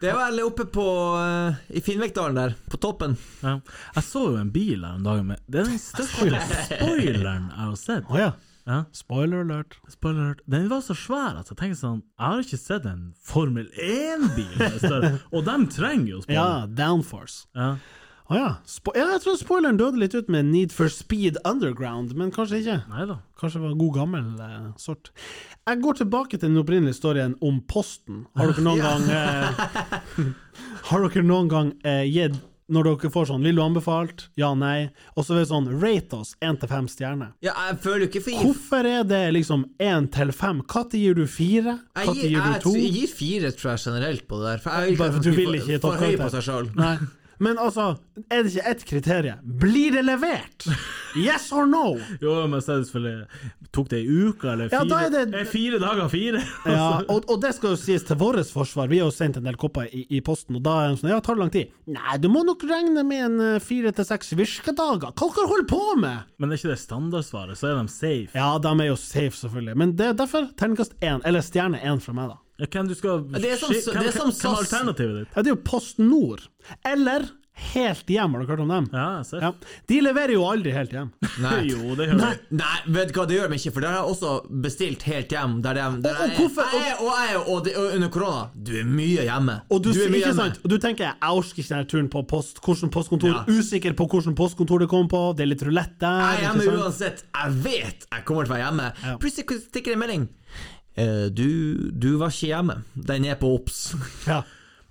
S4: Det er vel oppe på eh, i Finnvikdalen der, på toppen.
S1: Ja. Jeg så jo en bil her om dagen med Det er den største spoileren jeg har sett.
S2: Å ja.
S1: Ja.
S2: Spoiler alert.
S1: Spoiler alert. Den var så svær at jeg tenker sånn Jeg har ikke sett en Formel 1-bil som er større, og de trenger jo spoiler.
S2: Ja, downforce.
S1: Ja.
S2: Å ja. Spo ja. Jeg tror spoileren døde litt ut med Need for Speed Underground, men kanskje ikke.
S1: Nei da.
S2: Kanskje det var god gammel eh, sort. Jeg går tilbake til den opprinnelige historien om Posten. Har dere noen gang eh, Har dere noen gang eh, gitt når dere får sånn 'Vil du anbefalt?' Ja, nei. Og så er det sånn 'Rate oss 1 til 5 stjerner'.
S4: Ja, jeg føler jo ikke for jeg,
S2: Hvorfor er det liksom 1 til 5? Når gir du 4? Når
S4: gir,
S2: gir du
S4: jeg,
S2: 2?
S4: gir fire, tror jeg, generelt på det der. For jeg
S2: Bare
S4: at
S2: for
S4: de
S2: du
S4: skal
S2: vil ikke
S4: få-
S2: ta
S4: få høy
S2: karakter.
S4: på seg sjøl.
S2: Nei. Men altså, er det ikke ett kriterium? Blir det levert? Yes or no?
S1: Jo, men selvfølgelig Tok det ei uke, eller
S2: Ja,
S1: fire?
S2: da er det-
S1: eh, fire dager, fire?
S4: Altså.
S2: Ja, og, og det skal jo sies til vårt forsvar, vi har jo sendt en del kopper i, i posten, og da er de sånn, ja, tar det lang tid? Nei, du må nok regne med en eh, fire til seks virkedager, hva dere holder på med?
S1: Men er ikke det standardsvaret, så er de safe.
S2: Ja, de er jo safe selvfølgelig, men det er derfor terningkast 1, eller stjerne 1 fra meg da.
S1: Ja, Hvem du skal
S4: Det er som-
S1: Shit, hvem,
S4: det er som
S1: hvem- hvem er
S4: SAS.
S1: alternativet ditt?
S2: Ja, det er jo Post Nord, eller Helt Hjem, har dere hørt om dem?
S1: Ja, jeg ser.
S2: Ja, de leverer jo aldri Helt Hjem.
S4: Nei.
S1: Jo, det hører jeg.
S4: Nei, vet du hva, det gjør meg ikke, for det har jeg også bestilt helt hjem. Der de,
S2: Og-
S4: der
S2: og
S4: jeg-
S2: hvorfor-
S4: Jeg, og jeg og, det- og under korona, du er mye hjemme.
S2: Og du,
S4: er
S2: sier-
S4: mye
S2: ikke
S4: hjemme.
S2: sant? Og du tenker jeg orker ikke denne turen på post, hvordan postkontor,
S4: Ja.
S2: usikker på hvordan postkontor det kom på, det er litt rulett der.
S4: Jeg er
S2: ikke
S4: hjemme
S2: sant?
S4: uansett. Jeg vet jeg kommer til å være hjemme.
S2: Ja.
S4: Plutselig stikker det en melding. Eh, Du, du var ikke hjemme. Den er på OBS.
S2: Ja.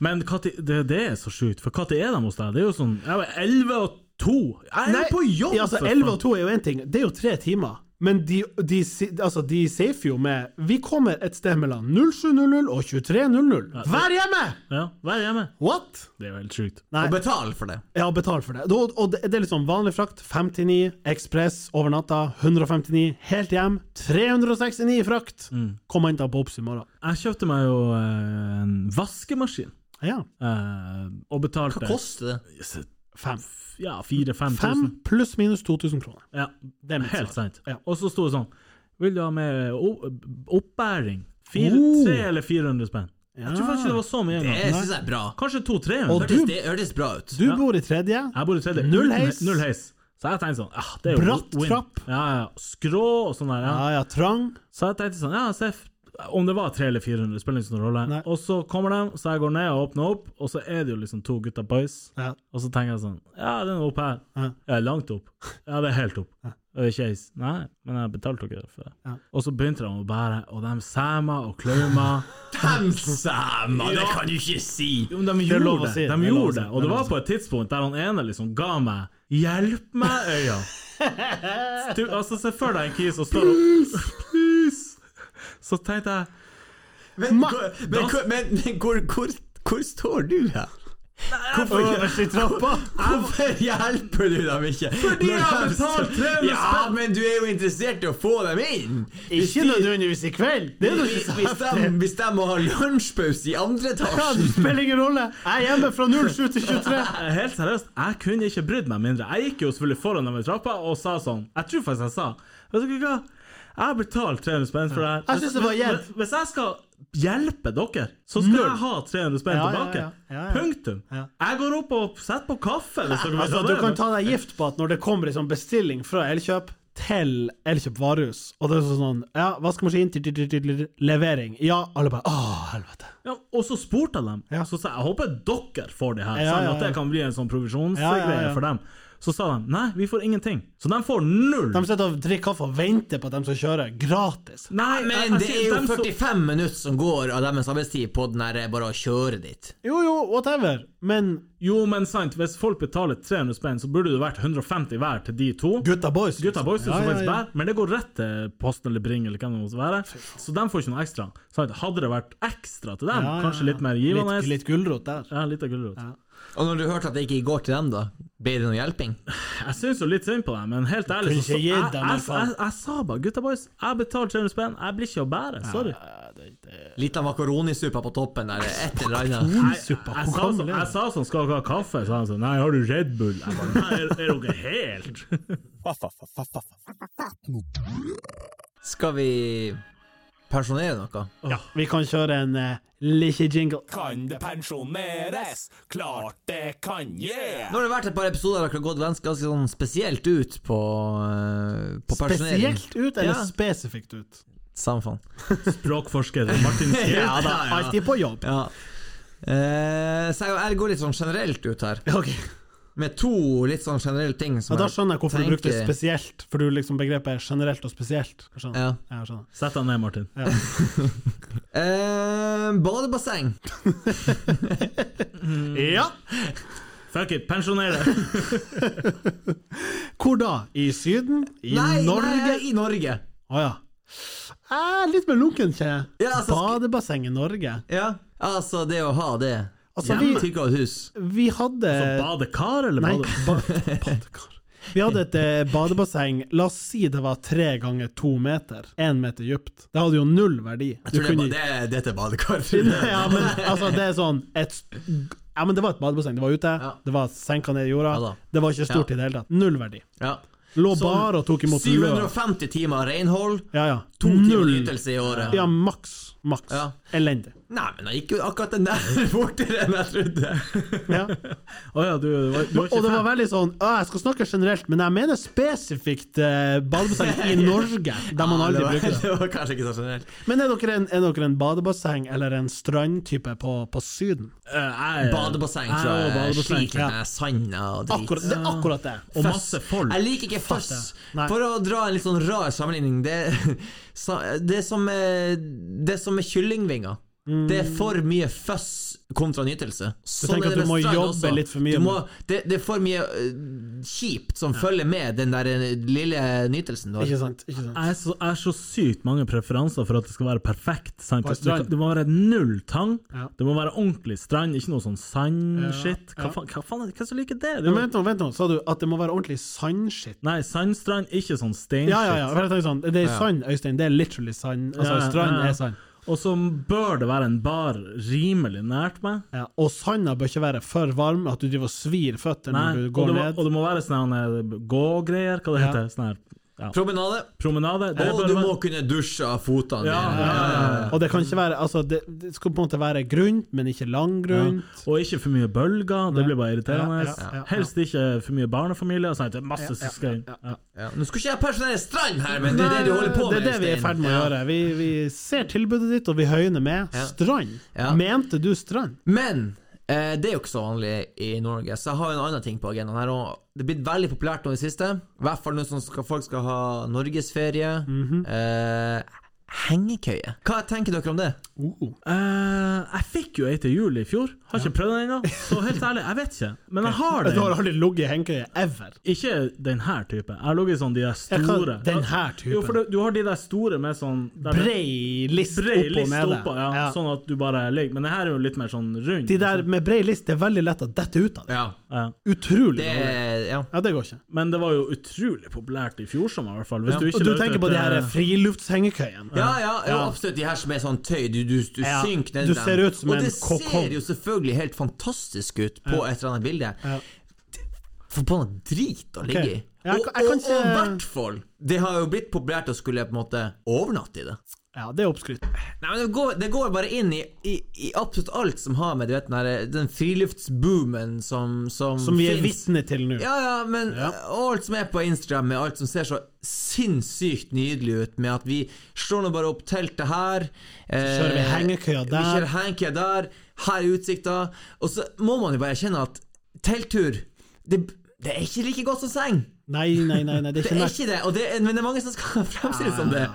S1: Men hva ti- det, det er så sjukt, for når er de hos deg? Det er jo sånn Jeg var 11 og 2! Jeg er jo på jobb!
S2: Ja, altså,
S1: for
S2: 11
S1: faen.
S2: og 2 er jo én ting, det er jo tre timer. Men de, de, si- altså, de safer jo med Vi kommer et sted mellom 07.00 og 23.00. Vær hjemme!
S1: Ja, vær hjemme.
S2: What?!
S1: Det er jo helt sjukt.
S2: Nei.
S4: Og betal for det.
S2: Ja, betal for det. Og, og det det er liksom vanlig frakt 59, ekspress over natta 159, helt hjem 369 i frakt.
S1: Mm.
S2: Kom og hent deg på Obs i morgen.
S1: Jeg kjøpte meg jo eh, en vaskemaskin.
S2: Ja.
S1: eh, og betalte
S4: Hva koster det?
S1: Yes,
S2: Fem.
S1: Ja, 4000-5000.
S2: Fem pluss minus 2000 kroner.
S1: Ja,
S2: Det er mitt
S1: helt
S2: svar.
S1: sant.
S2: Ja.
S1: Og så sto det sånn Vil du ha med o- oppbæring? Fire,
S2: Oh.
S1: Tre eller 400 spenn? Jeg tror faktisk ikke det var så mye.
S4: Det
S1: engang.
S4: syns jeg er bra.
S1: Kanskje
S2: Og
S1: 200-300?
S2: du-
S4: Hørtes, det hørtes bra ut.
S2: Du bor i tredje.
S1: Jeg bor i tredje.
S2: Null
S1: uten-
S2: heis.
S1: Null heis. Så jeg tenkte sånn ah, det er jo
S2: Bratt
S1: win.
S2: trapp.
S1: Ja, ja. Skrå og sånn der. Ja.
S2: Ja, ja, trang.
S1: Så jeg tenkte sånn Ja, Seff. Om det var 300 eller 400, spiller ikke noen rolle.
S2: Nei.
S1: Og så kommer de, så jeg går ned og åpner opp, og så er det jo liksom to gutter boys.
S2: Ja.
S1: Og så tenker jeg sånn Ja, den er opp her.
S2: Ja.
S1: Ja, langt opp. Ja, det er helt opp. Og det er ikke eis. Nei, men jeg betalte jo ikke det for det.
S2: Ja.
S1: Og så begynte de å bære, og de sæma og klauma.
S4: Dem sæma, det kan du ikke si!
S1: Jo, men de
S2: er
S1: gjorde
S2: lov å
S1: det.
S2: si. Det er
S1: De
S2: lov å
S1: gjorde
S2: si.
S1: det.
S2: Det
S1: Og
S2: er
S1: det
S2: lov
S1: var
S2: å
S1: på et tidspunkt der han ene liksom ga meg 'Hjelp meg, øya'. Du, altså, se for deg en kis som står og Så tenkte jeg
S4: Men, hvor- men, hvor- men, men hvor, hvor, hvor står du her? Hvorfor,
S2: Øverst i trappa.
S4: hvorfor hjelper du dem ikke? Fordi
S1: jeg har betalt 300
S4: Ja,
S1: spenn.
S4: men du er jo interessert i å få dem inn! Hvis
S2: Ikke
S4: de-
S2: nødvendigvis i kveld. Det er jo ikke
S4: Hvis
S2: så
S4: hvis
S2: heftig.
S4: de, hvis de må ha lunsjpause i andre
S2: Ja, det
S4: etasjen
S2: spiller ingen rolle. Jeg er hjemme fra 07 til 23.
S1: Eh, Helt seriøst, jeg kunne ikke brydd meg mindre. Jeg gikk jo selvfølgelig foran dem i trappa og sa sånn Jeg tror faktisk jeg sa Vet dere hva? Jeg har betalt 300 spenn for det her.
S2: Jeg synes det var
S1: Hvis-
S2: jevnt.
S1: hvis- Hvis jeg skal hjelpe dere, så skal jeg ha 300 spenn
S2: Ja, ja,
S1: tilbake.
S2: ja. Ja, ja.
S1: Punktum.
S2: Ja.
S1: Jeg går opp og setter på kaffe, hvis dere vil
S2: Altså,
S1: ha
S2: du
S1: det.
S2: kan ta deg gift på at når det kommer en sånn bestilling fra Elkjøp til Elkjøp varehus, og det er sånn Ja, vaskemaskin, tut, tut, tut, tut, levering. Ja, alle bare Å, helvete.
S1: Ja, og så spurte jeg dem.
S2: Ja.
S1: Så sa jeg jeg håper dere får det her,
S2: Ja,
S1: sånn
S2: ja,
S1: at det
S2: ja.
S1: kan bli en sånn provisjonsgreie
S2: Ja, ja, ja.
S1: for dem. Så sa de nei, vi får ingenting. Så de får null.
S2: De sitter og drikker kaffe og venter på at de skal kjøre. Gratis.
S1: Nei, jeg-
S4: Men
S1: jeg
S4: det
S1: sier
S4: er jo
S1: altså, dem så-
S4: 45 minutter som går av deres arbeidstid på den her bare å kjøre dit.
S2: Jo, jo, whatever. Men
S1: Jo, men sant, hvis folk betaler 300 spenn, så burde det vært 150 hver til de to.
S2: gutta boys
S1: Gutta boys
S2: Ja,
S1: som
S2: ja,
S1: faktisk
S2: ja.
S1: bærer, men det går rett til Posten eller Bring eller hvem det måtte være, så de får ikke noe ekstra. Sant? Hadde det vært ekstra til dem,
S2: Ja, ja,
S1: kanskje
S2: ja.
S1: litt mer givende
S2: Litt, litt gulrot der.
S1: Ja, litt av gulrot.
S4: Og når du hørte at det ikke går til dem, da? Ble det noe hjelping?
S1: Jeg syns jo litt synd på dem, men helt ærlig
S2: Kunne
S1: så, så
S2: ikke
S1: jeg,
S2: gitt
S1: jeg,
S2: dem, i
S1: jeg,
S2: faen.
S1: jeg, sa bare 'gutta boys, jeg betaler 300 spenn, jeg blir ikke å bære'. Sorry.
S4: Litt av makaronisuppa på toppen eller et eller annet.
S2: Kornsuppa,
S1: Jeg
S2: hvor
S1: sa, sånn,
S2: gammel
S1: jeg
S2: er du?
S1: sa sånn 'skal dere ha kaffe', sa han sånn 'nei, har du Red Bull'? Jeg bare 'nei, er, er dere helt
S4: Skal vi pensjonere noe?
S2: Vi kan kjøre en uh, lille jingle.
S3: Kan det pensjoneres? Klart det kan, yeah!
S4: Nå har det vært et par episoder der dere har gått ganske, ganske sånn spesielt ut på, eh, på pensjonering.
S2: Spesielt ut, eller
S4: Ja.
S2: spesifikt ut?
S4: Samme faen.
S1: språkforsker Martin Skjæ?
S4: Ja da, ja.
S2: Alltid på jobb.
S4: Ja. Eh, så jeg, jeg går litt sånn generelt ut her,
S2: Ok,
S4: med to litt sånn generelle ting. Som
S2: ja, Da
S4: jeg-
S2: skjønner jeg hvorfor du brukte
S4: tenker-
S2: spesielt, for du liksom begrepet er generelt og spesielt. Jeg skjønner.
S4: Ja.
S2: Ja, jeg skjønner.
S1: Sett deg ned, Martin.
S4: Eh, badebasseng.
S2: ja.
S1: Fuck it, pensjonere!
S2: Eh, Hvor da? I Syden? I
S4: Nei,
S2: Norge?
S4: Nei, i Norge.
S2: Å ja. Eh, litt mer lunken, kjenner jeg.
S4: Ja, altså, sk-
S2: Badebasseng i Norge.
S4: Ja, altså det å ha det
S2: Altså,
S4: Jævla
S2: vi,
S4: tykk av et hus.
S2: vi hadde
S1: Så badekar, eller?
S2: Nei,
S1: Altså, bade-
S2: ba- badekar. Vi hadde et eh, badebasseng, la oss si det var tre ganger to meter, én meter dypt. Det hadde jo null verdi.
S4: Jeg
S2: Du
S4: tror
S2: kunne-
S4: det, er ba- det, det er til badekar.
S2: ja, men altså, det er sånn et, Ja, men det var et badebasseng. Det var ute,
S4: Ja.
S2: det var senka ned i jorda.
S4: Ja da.
S2: det var ikke stort i
S4: Ja. Sånn
S2: det hele tatt. Null verdi.
S4: Ja.
S2: Lå
S4: Så
S2: bare og tok imot løv.
S4: 750 timer renhold,
S2: Ja, ja.
S4: to timer
S2: Null.
S4: ytelse i året.
S2: Ja, maks. Maks.
S4: Ja.
S2: Elendig.
S4: Nei, men det gikk jo akkurat den der fortere enn jeg trodde.
S2: Ja.
S1: Å ja, du, du, var, du var
S2: Og
S1: ikke
S2: det var
S1: fan.
S2: veldig sånn «Å, Jeg skal snakke generelt, men jeg mener spesifikt eh, badebasseng i Norge, der man
S4: Ja, det
S2: aldri
S4: var-
S2: bruker det.
S4: Det var kanskje ikke så generelt.
S2: Men er dere en, er dere en badebasseng eller en strandtype på, på Syden?
S1: Eh, jeg-
S4: Badebasseng,
S1: jeg
S4: tror
S1: var
S4: jeg.
S1: badebasseng,
S4: Slik
S1: ja.
S4: med sanda eh, og drit.
S2: Akkurat, det er akkurat det.
S1: Og masse folk.
S4: Jeg liker ikke føss.
S2: det. Nei.
S4: For å dra en litt sånn rar sammenligning, det, sa- det, er som, eh, det er som med kyllingvinger. Det er for mye føss kontra nytelse. Sånn
S2: Mm. tenker
S4: er
S2: at
S4: det
S2: du må
S4: med strand
S2: jobbe litt for mye
S4: Du må, det, det er for mye eh, kjipt som følger med den der eh, lille nytelsen du har.
S2: Ikke sant? Ikke sant?
S1: Jeg er, så, jeg er så sykt mange preferanser for at det skal være perfekt. Sant?
S2: På
S1: Det,
S2: strand.
S1: det må være null tang.
S2: Ja.
S1: Det må være ordentlig strand, ikke noe sånn sandskitt.
S2: Ja, ja.
S1: Hva faen, hva faen er det? Hvem som liker det? det er
S2: Men
S1: jo,
S2: vent nå, vent nå. Sa du at det må være ordentlig sandskitt?
S1: nei, sandstrand, ikke sånn steinskitt.
S2: Ja, ja, ja. for jeg tenker Sånn, det er sand, Øystein. Det er literally sand. Altså,
S1: Ja, ja,
S2: strand
S1: ja.
S2: er sand.
S1: Og så bør det være en bar rimelig nært meg.
S2: Ja, og sanda bør ikke være for varm, at du driver og svir føtter
S1: Nei,
S2: når du
S1: og,
S2: går
S1: det må,
S2: ned.
S1: og det må være sånn her, eh, gågreier, hva det
S2: Ja.
S1: heter Sånn her ja.
S4: Promenade.
S1: promenade. Det
S4: Og
S1: bør
S4: du
S1: være-
S4: må kunne dusje av fotene.
S1: ja,
S4: dine.
S1: ja, ja, ja.
S2: Og det kan ikke være Altså, det, det skal på en måte være grunt, men ikke langgrunt.
S1: Og ikke for mye bølger, det blir bare irriterende.
S2: Ja, ja, ja, ja.
S1: Helst ikke for mye barnefamilier. Sånn at det er masse som skal inn. Ja.
S4: Ja. Nå skulle ikke jeg personere strand her, men det er det du holder på
S2: det
S4: med.
S2: er det vi er i
S4: Øystein.
S2: ferd med å
S4: Ja.
S2: gjøre. Vi, vi ser tilbudet ditt, og vi høyner med.
S4: Ja.
S2: Strand.
S4: Ja.
S2: Mente du strand?
S4: Men eh, det er jo ikke så vanlig i Norge, så jeg har jo en annen ting på agendaen her. Og det er blitt veldig populært nå i det siste. I hvert fall nå som skal, folk skal ha norgesferie.
S2: Mhm.
S4: eh, hengekøye. Hva tenker dere om det?
S2: Oh.
S1: Eh, jeg fikk jo ei til jul i fjor. Har ikke prøvd den ennå. Så helt ærlig, jeg vet ikke. Men jeg har
S2: Du har
S1: den.
S2: aldri ligget i hengekøye ever?
S1: Ikke den her type. Jeg har ligget i sånn de der
S2: Jeg kan-
S1: store.
S2: den her typen.
S1: Jo, for du, du har de der store med sånn der det-
S2: Brei list
S1: brei
S2: opp og
S1: liste
S2: ned.
S1: oppå, ja,
S2: Ja.
S1: sånn at du bare ligger. Men det her er jo litt mer sånn rund.
S2: De der med brei list, det er veldig lett å dette ut av det.
S4: Ja.
S1: Ja.
S2: Utrolig
S4: Det
S2: dårlig.
S4: er ja.
S2: Ja, det går ikke.
S1: Men det var jo utrolig populært i fjor sommer, i hvert fall. Hvis
S4: Ja.
S1: du ikke
S2: Og du
S1: la ut
S2: tenker på
S1: et,
S2: de her
S1: eh,
S2: friluftshengekøyene.
S4: Ja, ja, ja,
S2: Ja.
S4: absolutt. De her som er sånn tøy. Du, du, du
S2: Ja.
S4: synker ned
S2: Du
S4: i dem.
S2: ser ut som
S4: Og
S2: en
S4: det
S2: kokong.
S4: ser jo selvfølgelig helt fantastisk ut på et eller annet bilde.
S2: Ja.
S4: Det- Forbanna drit å ligge i.
S2: Ja, jeg kan-
S4: Og,
S2: jeg
S4: og,
S2: kan
S4: og i
S2: ikke-
S4: hvert fall Det har jo blitt populært å skulle på en måte overnatte i det.
S2: Ja, det er oppskrytt.
S4: Nei, men det går, det går bare inn i, i, i absolutt alt som har med du vet, den, der, den friluftsboomen som, som,
S2: Som vi er
S4: finnes.
S2: vitne til nå.
S4: Ja, ja, men og alt som er på Instagram, med alt som ser så sinnssykt nydelig ut, med at vi slår nå bare opp teltet her eh,
S2: kjører vi hengekøya
S4: Vi
S2: der.
S4: kjører hengekøya der, her er utsikta, og så må man jo bare erkjenne at telttur, det, det er ikke like godt som seng.
S2: Nei, nei, nei, nei, det er
S4: Det
S2: ikke
S4: er
S2: nært.
S4: ikke det, og det er, men det er mange som skal fremstille som det.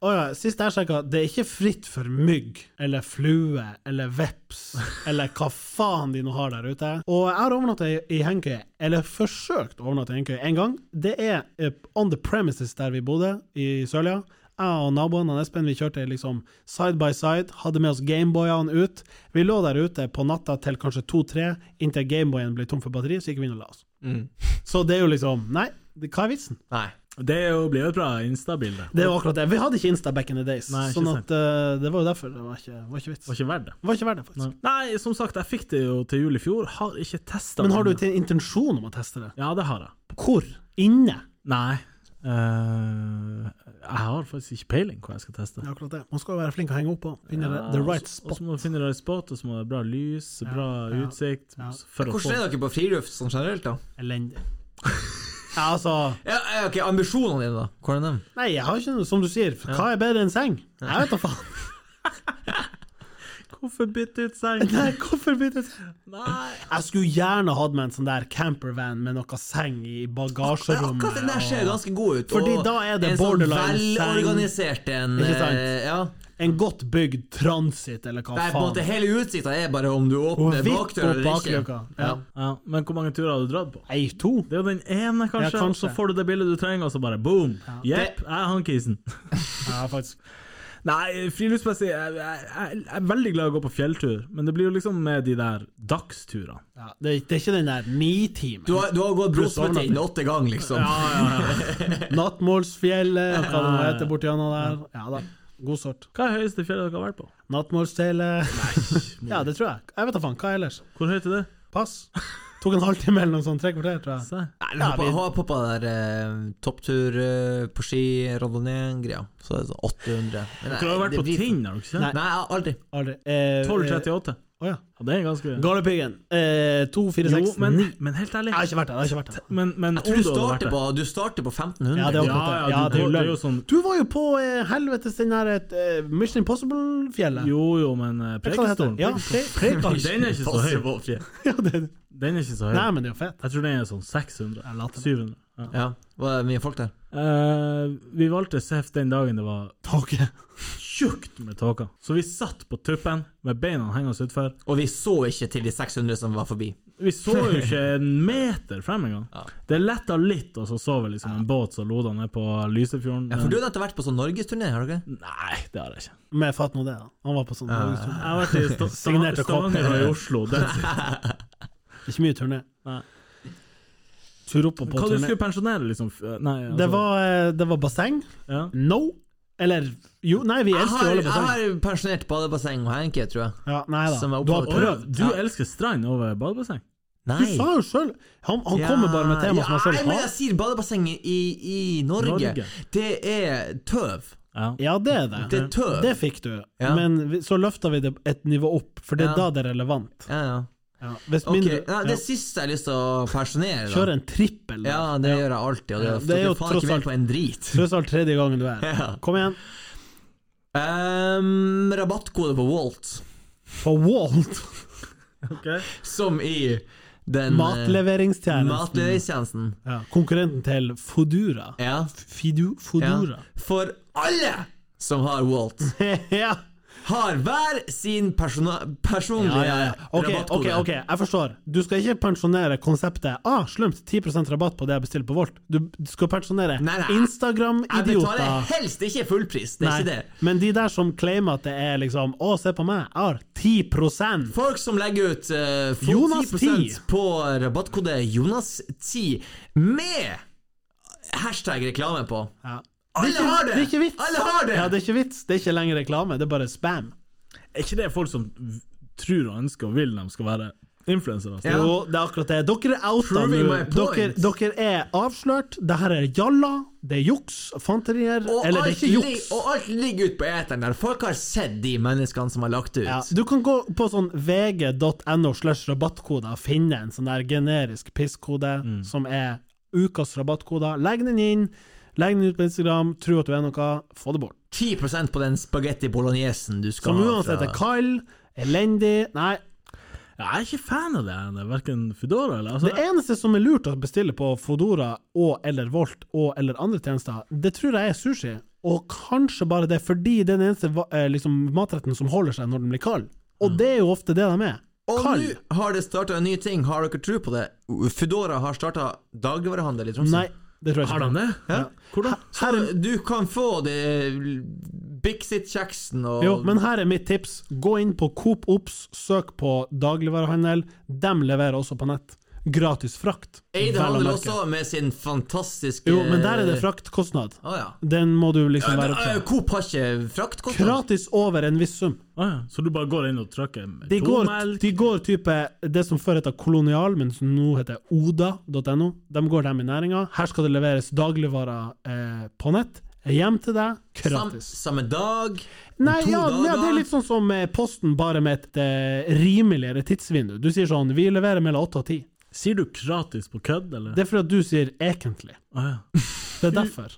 S2: Å ja, sist jeg sjekka, det er ikke fritt for mygg eller flue eller veps eller hva faen de nå har der ute. Og jeg har overnatta i, i hengekøye, eller forsøkt å overnatte i hengekøye én gang. Det er eh, on the premises der vi bodde, i Sørlia. Jeg og naboen han Espen vi kjørte liksom side by side, hadde med oss Gameboyene ut. Vi lå der ute på natta til kanskje to-tre, inntil Gameboyen ble tom for batteri, så gikk vi inn og la oss. Så det er jo liksom Nei, det- hva er vitsen?
S4: Nei.
S1: Det er jo- blir jo et bra Insta-bilde. Det
S2: Det var akkurat det. Vi hadde ikke Insta back in the days,
S1: Nei, ikke
S2: sånn at eh, det var jo derfor. Det var ikke, var ikke vits.
S1: var ikke verdt det.
S2: Det var ikke verdt det, faktisk.
S1: Nei, som sagt, jeg fikk det jo til jul i fjor. Har ikke testa
S2: Men har du til intensjon om å teste det?
S1: Ja, det har jeg.
S2: Hvor? Inne?
S1: Nei. eh, jeg har faktisk ikke peiling hva jeg skal teste.
S2: Det er akkurat det. Man skal jo være flink å henge opp på. Finne
S1: Ja,
S2: the
S1: og
S2: right
S1: så- Og
S2: spot.
S1: så må du finne deg spot, og så må det være bra lys, bra
S2: ja,
S1: utsikt.
S2: ja.
S1: For å
S4: Hvordan
S1: få
S4: er dere på friluft sånn generelt, da?
S2: Elendig. Ja, altså
S4: Ja, ja, ok, Ambisjonene dine, da? Hvordan er de?
S2: Nei, jeg har ikke noe Som du sier, hva er bedre enn seng? Jeg vet da faen.
S1: Hvorfor bytte ut seng?
S2: Nei, hvorfor sånn? bytte seng?
S1: Nei.
S2: Jeg skulle gjerne hatt med en sånn der campervan med noe seng i
S4: Men akkurat den der
S2: bagasjerommet.
S4: ser jo ganske god ut.
S2: Fordi
S4: og
S2: da er det
S4: en sånn
S2: borderline-sang.
S4: velorganisert en
S2: Ikke sant?
S4: eh, Ja.
S2: og En godt bygd transit, eller hva
S4: Det er på en måte
S2: faen.
S4: Hele utsikta er bare om du åpner
S2: Vipp
S4: bakdøra
S2: opp
S4: eller ikke.
S2: bakluka. Ja.
S1: Ja, men hvor mange turer har du dratt på?
S2: Ei, to.
S1: Det er jo den ene, kanskje,
S2: Ja, kanskje.
S1: og så får du det bildet du trenger, og så bare boom! Jepp, jeg er han kisen.
S2: Ja, faktisk.
S1: Nei, friluftsmessig jeg, jeg, jeg jeg er veldig glad i å gå på fjelltur, men det blir jo liksom med de der dagsturene.
S2: Ja, det, er- det er ikke den der
S4: Du
S2: ni-timen.
S4: har, du har gått
S2: overnatting.
S4: Brosmetinn åtte ganger, liksom.
S2: Nattmålsfjellet, og hva det nå heter borti han der. Ja da. God sort.
S1: Hva er høyeste fjellet dere har vært på?
S2: Nattmålsfjellet Ja, det tror jeg. Jeg vet da faen. Hva ellers?
S1: Hvor høyt er det?
S2: Pass. Tok en halvtime eller noe sånt. Tre kvarter, tror jeg.
S1: Se.
S4: Nei,
S2: Ja,
S4: ja,
S2: vi-
S4: Har poppa der eh, topptur eh, på ski, randonee-greia. Så er det sånn 800. Men nei,
S1: Dere har jo vært
S4: det
S1: på
S4: blir- sånn.
S1: Tinn, har dere ikke
S4: Nei,
S1: det?
S4: jeg har aldri.
S2: Aldri. Eh,
S1: 1238.
S2: eh, Å ja.
S1: Ja, det er ganske
S2: Galdhøpiggen. Eh, to, fire,
S1: Jo,
S2: seks,
S1: men,
S2: ni.
S1: men helt ærlig
S2: Jeg har ikke vært der. Jeg har ikke vært der.
S1: Men, men
S4: Jeg tror
S1: om hadde
S4: du
S1: vært
S4: starter,
S1: der-
S4: på, du starter på 1500.
S2: Ja, det er
S1: Ja,
S2: akkurat det.
S1: ja,
S2: Ja,
S1: du,
S2: det er
S1: går- det er
S2: løgn.
S1: jo sånn
S2: Du var jo på eh, helvetes den der eh, Mission Impossible-fjellet.
S1: Jo jo, men eh,
S2: Hva heter
S1: Preikestolen
S2: den? Ja, Pre- Preikestolen.
S1: Den er ikke så høy.
S2: ja, det-
S1: Den er ikke så høy.
S2: Nei, men det er jo fett.
S1: Jeg tror den er sånn 600.
S2: Jeg later.
S1: 700. Ja.
S4: Ja, Var det mye folk der?
S1: Eh, vi valgte Seff den dagen det var
S2: Tåke.
S1: tjukt med tåke. Så vi satt på tuppen med beina hengende utfor.
S4: Og vi så ikke til de 600 som var forbi.
S1: Vi så jo ikke en meter frem engang.
S4: Ja.
S1: Det letta litt, og så så vi liksom en båt som loda ned på Lysefjorden.
S4: Ja, for du har nettopp vært på sånn norgesturné, har du ikke?
S1: Nei, det har jeg ikke.
S2: Med fatt nå det, da. Han var på sånn
S1: Jeg har vært i Sta-
S2: Signert
S1: Sta-
S2: og kopp.
S1: Stavanger og i Oslo. That's it.
S2: Ikke mye turné.
S1: Nei.
S2: Tur opp og på
S1: Hva du
S2: turné.
S1: skulle pensjonere, liksom? F- Nei, altså,
S2: Det var, eh, det var basseng.
S1: ja.
S2: No. Eller jo, nei, vi
S4: Jeg
S2: elsker å
S4: har,
S2: holde sånn.
S4: jeg
S2: basseng.
S4: har pensjonert badebasseng og hanky, tror jeg.
S2: Ja, nei da.
S4: Som er
S2: Du har
S4: oppholdt.
S2: prøvd.
S1: Du
S4: Ja.
S1: elsker strand over badebasseng?
S4: Nei.
S2: Du sa jo sjøl Han, han kommer bare med tema som han
S4: Nei,
S2: sjøl
S4: men
S2: har.
S4: jeg sier badebasseng i, i Norge.
S1: Norge.
S4: Det er tøv.
S1: Ja.
S2: Ja, det er det.
S4: Det er tøv.
S2: Det fikk du.
S4: Ja.
S2: Men vi- så løfter vi det et nivå opp, for det er da
S4: Ja.
S2: det er relevant.
S4: Ja, ja.
S2: Ja. Hvis
S4: Ok,
S2: mindre
S4: ja, Det siste jeg har lyst til å pensjonere,
S2: ja.
S4: da.
S2: Kjøre en trippel. da.
S4: Ja, det gjør jeg alltid, og det,
S2: Ja, det er
S4: dere
S2: jo
S4: faen ikke
S2: tross alt-
S4: med på en drit.
S2: Tross alt tredje gangen du er her.
S4: Ja.
S2: Kom igjen.
S4: Ehm, rabattkode på Walt,
S2: På Walt.
S4: som i den eh,
S2: Matleveringstjenesten.
S4: matleveringstjenesten.
S2: Ja. Konkurrenten til Fodura.
S4: Ja.
S2: Fidu,
S4: ja.
S2: Fodura.
S4: For alle som har Walt,
S2: ja.
S4: har hver sin persona personlige
S2: Ja, ja, ja. Ok, ok,
S4: rabattkode.
S2: ok, jeg forstår. Du skal ikke pensjonere konseptet ah, slumt, 10 rabatt på det jeg bestiller på Volt. Du du skal pensjonere
S4: Nei, nei. Jeg betaler
S2: Instagram-idioter.
S4: helst ikke fullpris, det er
S2: Nei,
S4: ikke det.
S2: Men de der som claimer at det er liksom Å, se på meg, jeg har 10
S4: Folk som legger ut eh, får
S2: Jonas
S4: 10%
S2: 10.
S4: på rabattkode Jonas10 med hashtag reklame på.
S2: ja.
S4: Alle
S2: ikke-
S4: har det!
S2: det er ikke vits.
S4: Alle har det!
S2: ja, det er ikke vits. Det er ikke lenger reklame, det er bare spam.
S1: Er ikke det folk som v- tror og ønsker og vil de skal være influensere?
S4: Ja.
S2: Jo, det er akkurat det. Dere er outa nå.
S4: Proving my
S2: Dere,
S4: point.
S2: dere er avslørt. Det her er jalla, det er juks, fanterier.
S4: Og
S2: Eller det er
S4: alt,
S2: ikke
S4: lig-
S2: juks.
S4: og alt ligger ute på eteren der. Folk har sett de menneskene som har lagt det ut.
S2: Ja, du kan gå på sånn vg.no slash rabattkoder og finne en sånn der generisk pisskode som er ukas rabattkoder. Legg den inn, legg den ut på Instagram, tro at du er noe, få det bort.
S4: 10 på den spagetti bolognesen du skal
S2: Som
S4: ha
S2: uansett er
S4: fra-
S2: kald, elendig Nei,
S1: Jeg er ikke fan av det, det er verken Foodora eller altså,
S2: det eneste som er lurt å bestille på Fodora og eller Volt og eller andre tjenester, det tror jeg er sushi. Og kanskje bare det fordi det er den eneste va- eh, liksom, matretten som holder seg når den blir kald. Og det er jo ofte det de er.
S4: Mm. Og
S2: Kald.
S4: nå har det starta en ny ting. Har dere tro på det? Foodora har starta dagligvarehandel i Tromsø.
S2: Nei, det tror jeg
S1: Har
S2: ikke.
S1: de det?
S4: Ja.
S1: Hvordan?
S4: Så du kan få det eh, Bixit-kjeksen og
S2: Jo, men her er mitt tips. Gå inn på Coop Ops, søk på dagligvarehandel. De leverer også på nett. Gratis frakt.
S4: Eide
S2: vel å
S4: handler
S2: merke.
S4: også med sin fantastiske
S2: Jo, men der er det fraktkostnad.
S4: Å ja.
S2: Den må du liksom være
S4: Men, eh,
S2: opptatt av.
S4: Coop har ikke fraktkostnad.
S2: Gratis over en viss sum.
S1: Å ja, så du bare går inn og trykker med
S2: De går,
S1: melk?
S2: de går type det som før het Kolonial, men som nå heter oda.no. De går dem i næringa. Her skal det leveres dagligvarer eh, på nett. Hjem til deg,
S4: Sam,
S2: gratis.
S4: samme dag. om
S2: Nei,
S4: to
S2: ja, ja, det
S4: dager.
S2: er litt sånn som eh, Posten, bare med et eh, rimeligere tidsvindu. Du sier sånn 'Vi leverer mellom åtte og ti'.
S1: Sier du gratis på kødd, eller?
S2: Det er fordi at du sier 'egentlig'.
S1: Å ja.
S2: Det er derfor.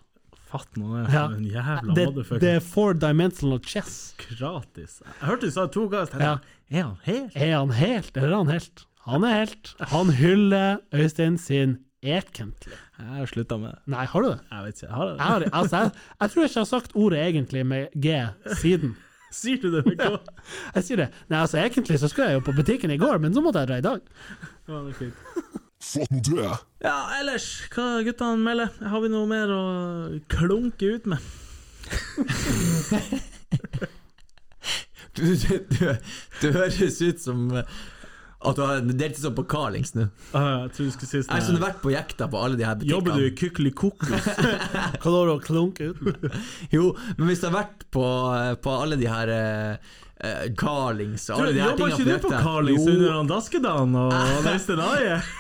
S1: Fatt nå det,
S2: Ja.
S1: den jævla
S2: Det,
S1: motherfucker.
S2: det er four dimensional chess.
S1: Gratis. Jeg hørte du sa to gass.
S2: Ja.
S1: Ja. Er han her?
S2: Er han helt, eller er han helt? Han er helt. Han hyller Øystein sin 'egentlig'.
S1: Jeg har slutta med det.
S2: Nei, har du det?
S1: Jeg vet ikke. Jeg har
S2: Jeg,
S1: det.
S2: har, altså, jeg, jeg tror jeg ikke har sagt ordet 'egentlig' med G siden.
S1: Sier du det med K?
S2: Jeg sier det. Nei, altså, egentlig så skulle jeg jo på butikken i går, men så måtte jeg dra i dag.
S1: Ja, det er fint.
S5: Fatt nå det!
S1: Ja, ellers, hva guttene melder? Har vi noe mer å klunke ut med?
S4: Du, du, du, du høres ut som eh, at du har delt sånn på Carlings nå.
S1: Ah, jeg tror du skulle si
S4: Jeg har sånn
S1: sånn her,
S4: vært på jekta på alle de her
S1: Jobber du
S4: butikkene.
S1: i Kykelikokos?
S2: Hva da, å klunke ut med?
S4: Jo, men hvis jeg har vært på, på alle de her eh, eh, Carlings og alle de her
S1: Jobber
S4: tingene
S1: ikke du på
S4: jekta.
S1: Carlings
S4: Jo.
S1: under han Daskedagen og Leistedaiet?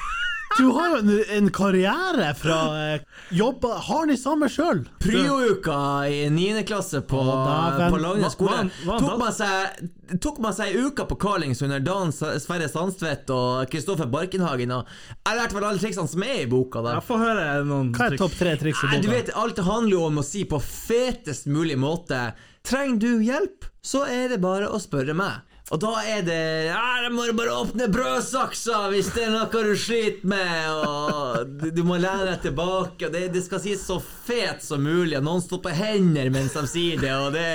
S2: Du har jo en, en karriere fra eh, jobba Har ni samme sjøl?
S4: Pryo-uka i 9. klasse på,
S2: Å, dæven.
S4: på
S1: Hva-
S4: Langnes skole.
S1: hva- hva-
S4: Tok man seg- Tok man seg ei uke på Carlings under Dan Sa- Sverre Sandtvedt og Kristoffer Barkenhagen, og jeg lærte vel alle triksene som er i boka der.
S1: Jeg får høre noen
S2: Hva er topp tre triks i
S4: Nei, du
S2: boka?
S4: vet, alt handler jo om å si på fetest mulig måte Trenger du hjelp, så er det bare å spørre meg. Og da er det ja, Jeg må bare åpne brødsaksa hvis det er noe du sliter med, og du- du må lene deg tilbake, og det, det skal sies så fet som mulig, og noen står på hender mens de sier det, og det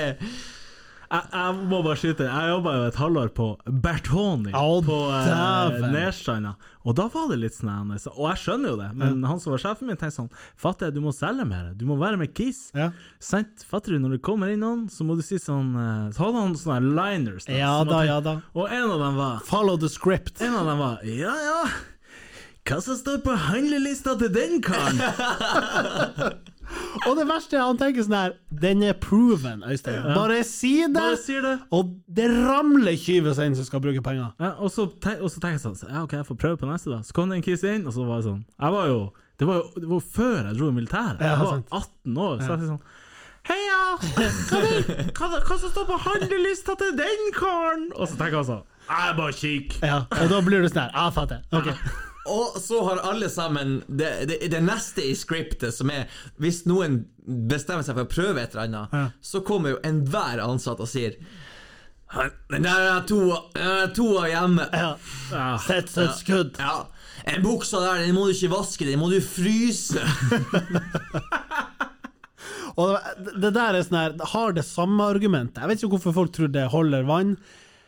S1: Jeg, jeg må bare skyte inn. Jeg jobba jo et halvår på Bertoni
S2: Å,
S1: på eh,
S2: dæven.
S1: Nerstranda, og da var det litt sånn her, så- Og jeg skjønner jo det, men han som var sjefen min, tenkte sånn Fatter, du må selge mer. Du må være med Kiss.
S2: Ja.
S1: Sant? Fatter du, når det kommer inn noen, så må du si sånn eh, Så hadde han sånne her liners.
S2: Ja
S1: som
S2: da,
S1: at-
S2: ja da.
S1: Og en av dem var
S2: Follow the script.
S1: En av dem var Ja, ja. Hva som står på handlelista til den karen?
S2: Og det verste er han tenker sånn her Den er proven, Øystein. Bare si det,
S1: Bare sier det.
S2: og det ramler 20 cent som skal bruke penger.
S1: Ja, og, så tenk, og så tenker jeg sånn så, Ja, ok, jeg får prøve på neste da Så kom det en kiss inn Og så var jeg sånn Jeg var jo Det var jo det var jo før jeg dro i militæret
S2: Ja,
S1: Jeg var
S2: sant.
S1: 18 år Så jeg var sånn Heia Hva, vil- hva, hva som står på handlelista til den karen Og så tenker jeg sånn Jeg er bare kikk
S2: Ja, og da blir du sånn her. Ja, fatter. Ok.
S4: Og så har alle sammen det, det, det neste i scriptet, som er hvis noen bestemmer seg for å prøve et eller annet,
S2: Ja.
S4: så kommer jo enhver ansatt og sier «Han- Den der er to, den der er to av hjemme.
S2: Ja.
S1: ja.
S2: Sett seg et skudd.
S4: Ja. En buksa der, den må du ikke vaske, den må du fryse.
S2: Og det- det der er sånn her Har det samme argumentet. Jeg vet ikke hvorfor folk tror det holder vann.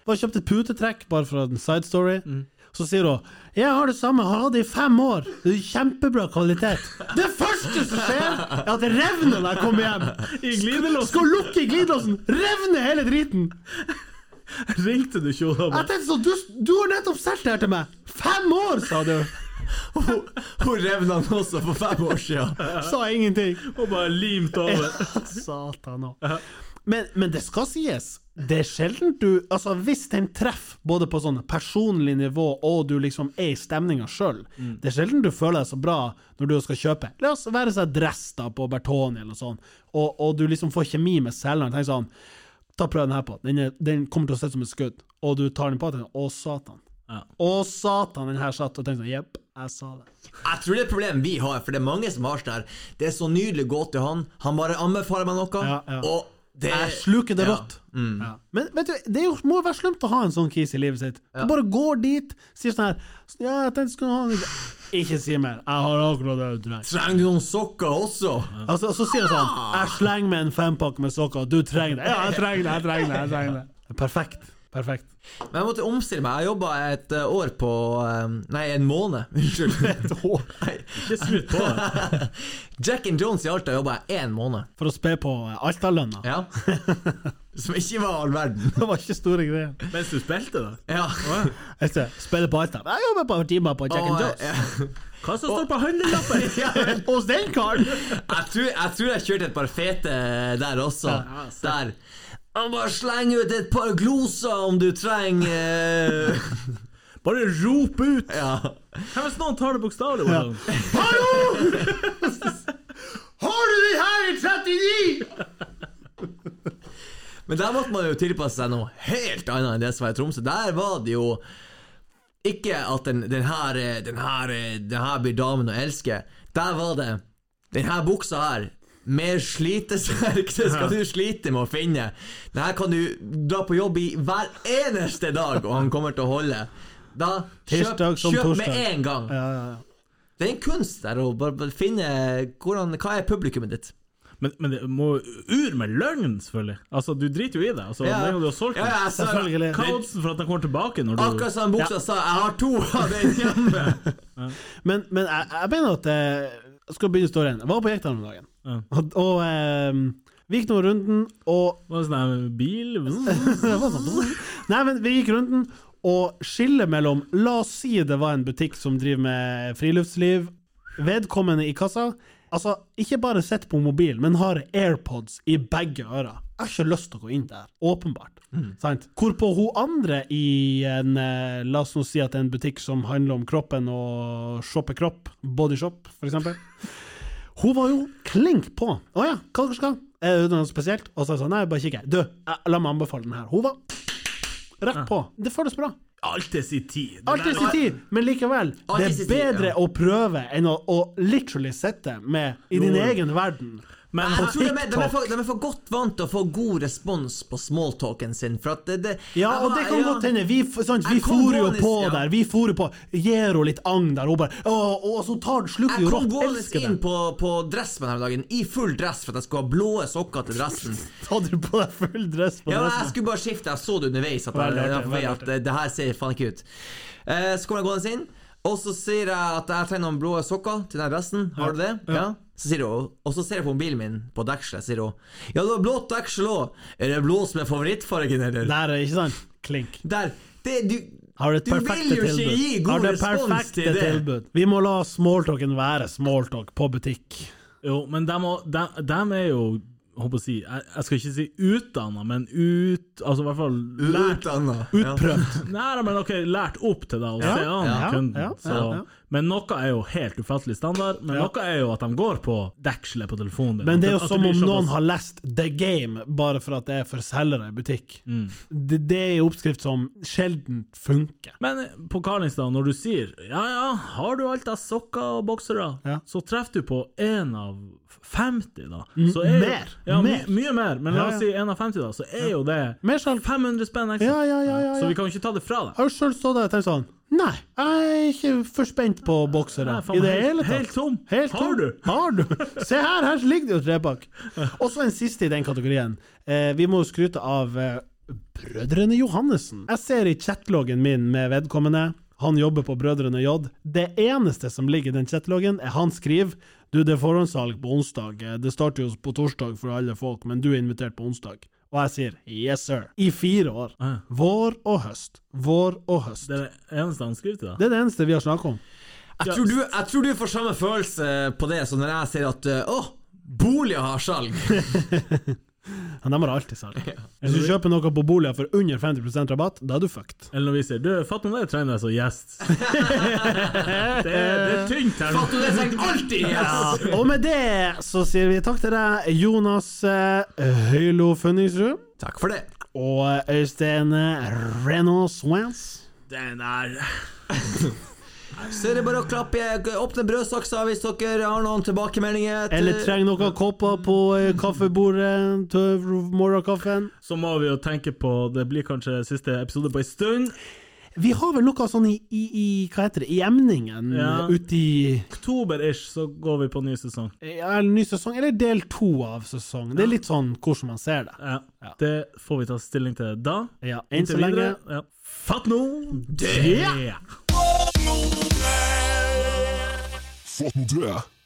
S2: Bare kjøpt et putetrekk bare for en side story.
S1: Mm.
S2: Så sier hun 'Jeg har det samme, har hatt det i fem år. Det er Kjempebra kvalitet'. Det første som skjer, er at det revner når jeg kommer hjem.
S1: I glidelåsen.
S2: Skal lukke i glidelåsen, revner hele driten.
S1: Ringte du ikke Olav?
S2: Jeg tenkte sånn, du, du har nettopp solgt det her til meg. Fem år, sa du.
S4: Hun hun revna den også for fem år siden.
S2: Sa ingenting.
S1: Og bare limt over
S2: Satan òg. Men, men det skal sies. Det er sjelden du Altså, hvis den treffer både på sånn personlig nivå og du liksom er i stemninga sjøl,
S1: Mm.
S2: det er sjelden du føler deg så bra når du skal kjøpe La oss være seg dress da på Bertoni eller noe sånt, og, og du liksom får kjemi med selgeren. Tenk sånn Ta prøv den her på. Den, er, den kommer til å se ut som et skudd. Og du tar den på og tenker Å, satan.
S1: Ja.
S2: Å, satan, den her satt. Og tenker sånn Jepp, jeg sa det.
S4: Jeg tror det er problemet vi har, for det er mange som har sånn her Det er så nydelig å gå til han, han bare anbefaler meg noe,
S2: Ja, ja.
S4: og det
S2: Jeg sluker det
S4: Eh, Ja.
S2: rått. Ja. Men vet du, det er jo, må jo være slemt å ha en sånn kis i livet sitt. Du bare går dit, sier sånn her Ja, jeg tenkte jeg skulle ha en Ikke si mer. Jeg har akkurat det du trenger.
S4: Trenger du noen sokker også?
S2: Altså, så sier han sånn Jeg slenger med en fempakke med sokker, du trenger det. Ja, jeg trenger det, jeg trenger det. jeg trenger det Perfekt. Perfekt.
S4: Men jeg måtte omstille meg. Jeg jobba et eh, år på eh, Nei, en måned. Unnskyld. Nei.
S1: Ikke smutt på det
S4: Jack and Jones i Alta jobba jeg én måned.
S2: For å spe på eh, Alta-lønna.
S4: Ja. Som ikke var all verden.
S2: Det var ikke store greier.
S1: Mens du spilte da
S4: Ja.
S2: Jeg ser, Spiller på Alta. Jeg jobber på timer på Jack and
S4: Og,
S2: Jones.
S4: eh,
S1: Hva som står på handlelappen?
S4: ja, men
S2: Hos den karen!
S4: jeg, tror, jeg tror jeg kjørte et par fete der også.
S1: Ja,
S4: Der. Han bare slenger ut et par gloser om du trenger eh,
S1: Bare rop ut
S4: Ja.
S1: Hva hvis noen tar det sånn. bokstavlig? Olav?
S4: Har du den her i 39?! Men der måtte man jo tilpasse seg noe helt annet enn det som var i Tromsø. Der var det jo ikke at den, den, her, eh, den, her, eh, den her blir damen å elske. Der var det Den her buksa her mer slitesterk, det skal du slite med å finne. Den her kan du dra på jobb i hver eneste dag, og han kommer til å holde. Da kjøp,
S2: Tirsdag som
S4: kjøp med
S2: torsdag.
S4: en gang.
S2: Ja, ja, ja.
S4: Det er en kunst der å bare bare finne hvordan, Hva er publikummet ditt?
S1: Men, men det må ur med løgn, selvfølgelig. Altså, Du driter jo i det. Altså,
S4: Ja.
S1: Med en gang du har solgt
S4: Ja,
S1: den.
S4: ja, jeg sa-
S2: Selvfølgelig.
S1: Hva er oddsen for at den kommer tilbake? når du...
S4: Akkurat som buksa sa, jeg har to av den hjemme!
S2: Men, men jeg, jeg mener at eh, Jeg skal begynne storyen. Jeg var på Jekta om dagen.
S1: Ja.
S2: Og, og eh, Vi gikk nå runden, og
S1: Var det sånn her bil?
S2: det var sånn. Nei, men vi gikk runden, og skillet mellom La oss si det var en butikk som driver med friluftsliv, vedkommende i kassa Altså, ikke bare sitter på mobilen, men har AirPods i begge ører. Jeg har ikke lyst til å gå inn der, åpenbart. Sant? Hvorpå hun andre i en eh, La oss nå si at det er en butikk som handler om kroppen og shopper kropp, bodyshop, for eksempel. Hun var jo klink på. Å ja, hva dere skal? Er det noe spesielt? Og så er det sånn, nei, bare kikker. Du, eh, la meg anbefale den her. Hun var rett på. Det føles bra.
S1: Alt er sin tid. Det
S2: Alt
S1: der-
S2: i sin tid, men likevel.
S4: Alt i
S2: Det er
S4: sin tid,
S2: bedre
S4: ja.
S2: å prøve enn å, å literally sitte med i din
S1: Jo.
S2: egen verden.
S1: Men
S4: Jeg tror de, er- de, er
S1: TikTok
S4: for, de er for godt vant til å få god respons på smalltalken sin. For at det, det,
S2: Ja, og det kan
S4: ja.
S2: godt hende. Vi, f- sant, vi
S4: Jeg kom
S2: for jo
S4: gående,
S2: på
S4: ja.
S2: der. Vi for jo på. Gir henne litt agn der. Hun bare Å, å, så tar den sluker jo
S4: Jeg kom
S2: rått.
S4: gående
S2: Elsker
S4: inn
S2: det.
S4: på, på dressen denne dagen, i full dress, for at jeg skulle ha blå sokker til dressen.
S2: Tar du på deg full dress på
S4: Ja, men jeg
S2: resten?
S4: skulle bare skifte, jeg så det underveis at,
S2: Veldig
S4: jeg,
S2: artig,
S4: jeg,
S2: veldig
S4: at
S2: artig.
S4: det her ser faen ikke ut. Eh, så kommer jeg gående inn, og så sier jeg at jeg trenger noen blå sokker til den resten. Har du det? Ja. Så sier hun, og så ser jeg på mobilen min på dekselet, sier hun Ja, du har blått deksel òg. Er det blå som er favorittfargen, eller?
S2: Der, ikke sant? Klink.
S4: Der! Det, du
S2: Har det
S4: Du vil
S2: perfekte
S4: jo ikke
S2: tilbud.
S4: gi god
S2: Har det
S4: respons
S2: perfekte
S4: til det.
S2: Tilbud. Vi må la smalltalken være smalltalk på butikk.
S1: Jo, men dem, og- dem, dem er jo håper å si, jeg, jeg skal ikke si utdanna, men ut Altså i hvert fall lært
S4: Utdanna.
S2: Utprøvd.
S1: Nei, men ok, lært opp til deg å
S2: Ja,
S1: se an
S2: ja,
S1: kunden.
S2: ja,
S1: så,
S2: ja, ja.
S1: Men noe er jo helt ufattelig standard, men
S2: Ja.
S1: noe er jo at de går på dekselet på telefonen din.
S2: Men det er
S1: At-
S2: jo
S1: at
S2: som
S1: blir
S2: om
S1: såpass-
S2: noen har lest The Game bare for at det er for selgere i butikk. Det, det er en oppskrift som sjelden funker.
S1: Men på Karlingstad, når du sier ja, ja, har du alt av sokker og boksere,
S2: Ja.
S1: så treffer du på én av 50, da. Så er jo-
S2: mer,
S1: Ja,
S2: mer.
S1: My, mye mer, men la
S2: Ja,
S1: oss
S2: ja.
S1: si én av 50, da, så er jo det
S2: Mer salg.
S1: 500 spenn ekstra.
S2: Ja, ja, ja. ja,
S1: Så
S2: ja.
S1: vi kan jo ikke ta det fra deg.
S2: Jeg har jo sjøl stått der og tenkt sånn Nei, jeg er ikke for spent på boksere
S1: Nei, faen,
S2: i det
S1: helt-
S2: hele tatt.
S1: helt tom.
S2: Helt
S1: Har du?
S2: Har du? Se her, her ligger det jo trepakk. Og så en siste i den kategorien. Eh, vi må jo skryte av eh, Brødrene Johannessen. Jeg ser i chatloggen min med vedkommende. Han jobber på Brødrene J. Det eneste som ligger i den chatloggen, er han skriver Du, det er forhåndssalg på onsdag. Eh, Det starter jo på torsdag for alle folk, men du er invitert på onsdag. Og jeg sier yes, sir. I fire år.
S1: Ja.
S2: Vår og høst. Vår og høst.
S1: Ah, Det er det eneste han skriver til deg.
S2: Det er det eneste vi har snakket om.
S4: Jeg tror, du, jeg tror du får samme følelse på det som når jeg sier at eh, Åh, boliger har salg!
S2: Men de har alltid salg. Hvis du kjøper noe på boliger for under 50 rabatt, da er du fucked.
S1: Eller når vi sier du, Fatman, det trener jeg som gjest. det, er, det er tynt her nå.
S4: Fatto, det er sagt alltid! Yes.
S2: Og med det så sier vi takk til deg, Jonas eh, Høylo Funningsrud,
S4: Takk for det.
S2: og eh, Øystein Renaud Swans.
S1: Den er
S4: Så er det bare å klappe i åpne brødsaksa hvis dere har noen tilbakemeldinger. til-
S2: Eller trenger noen kopper på eh, kaffebordet til morgenkaffen.
S1: Så må vi jo tenke på Det blir kanskje siste episode på ei stund.
S2: Vi har vel noe sånn i, i, i hva heter det, i emningen
S1: Ja.
S2: uti
S1: Oktober-ish så går vi på ny sesong.
S2: ja, ny sesong, eller del to av sesong. Det er litt sånn hvordan man ser det.
S1: Ja, Det får vi ta stilling til da.
S2: Ja, enn så lenge.
S1: Ja. Fatt nå!
S2: Det!
S3: Fått noe død.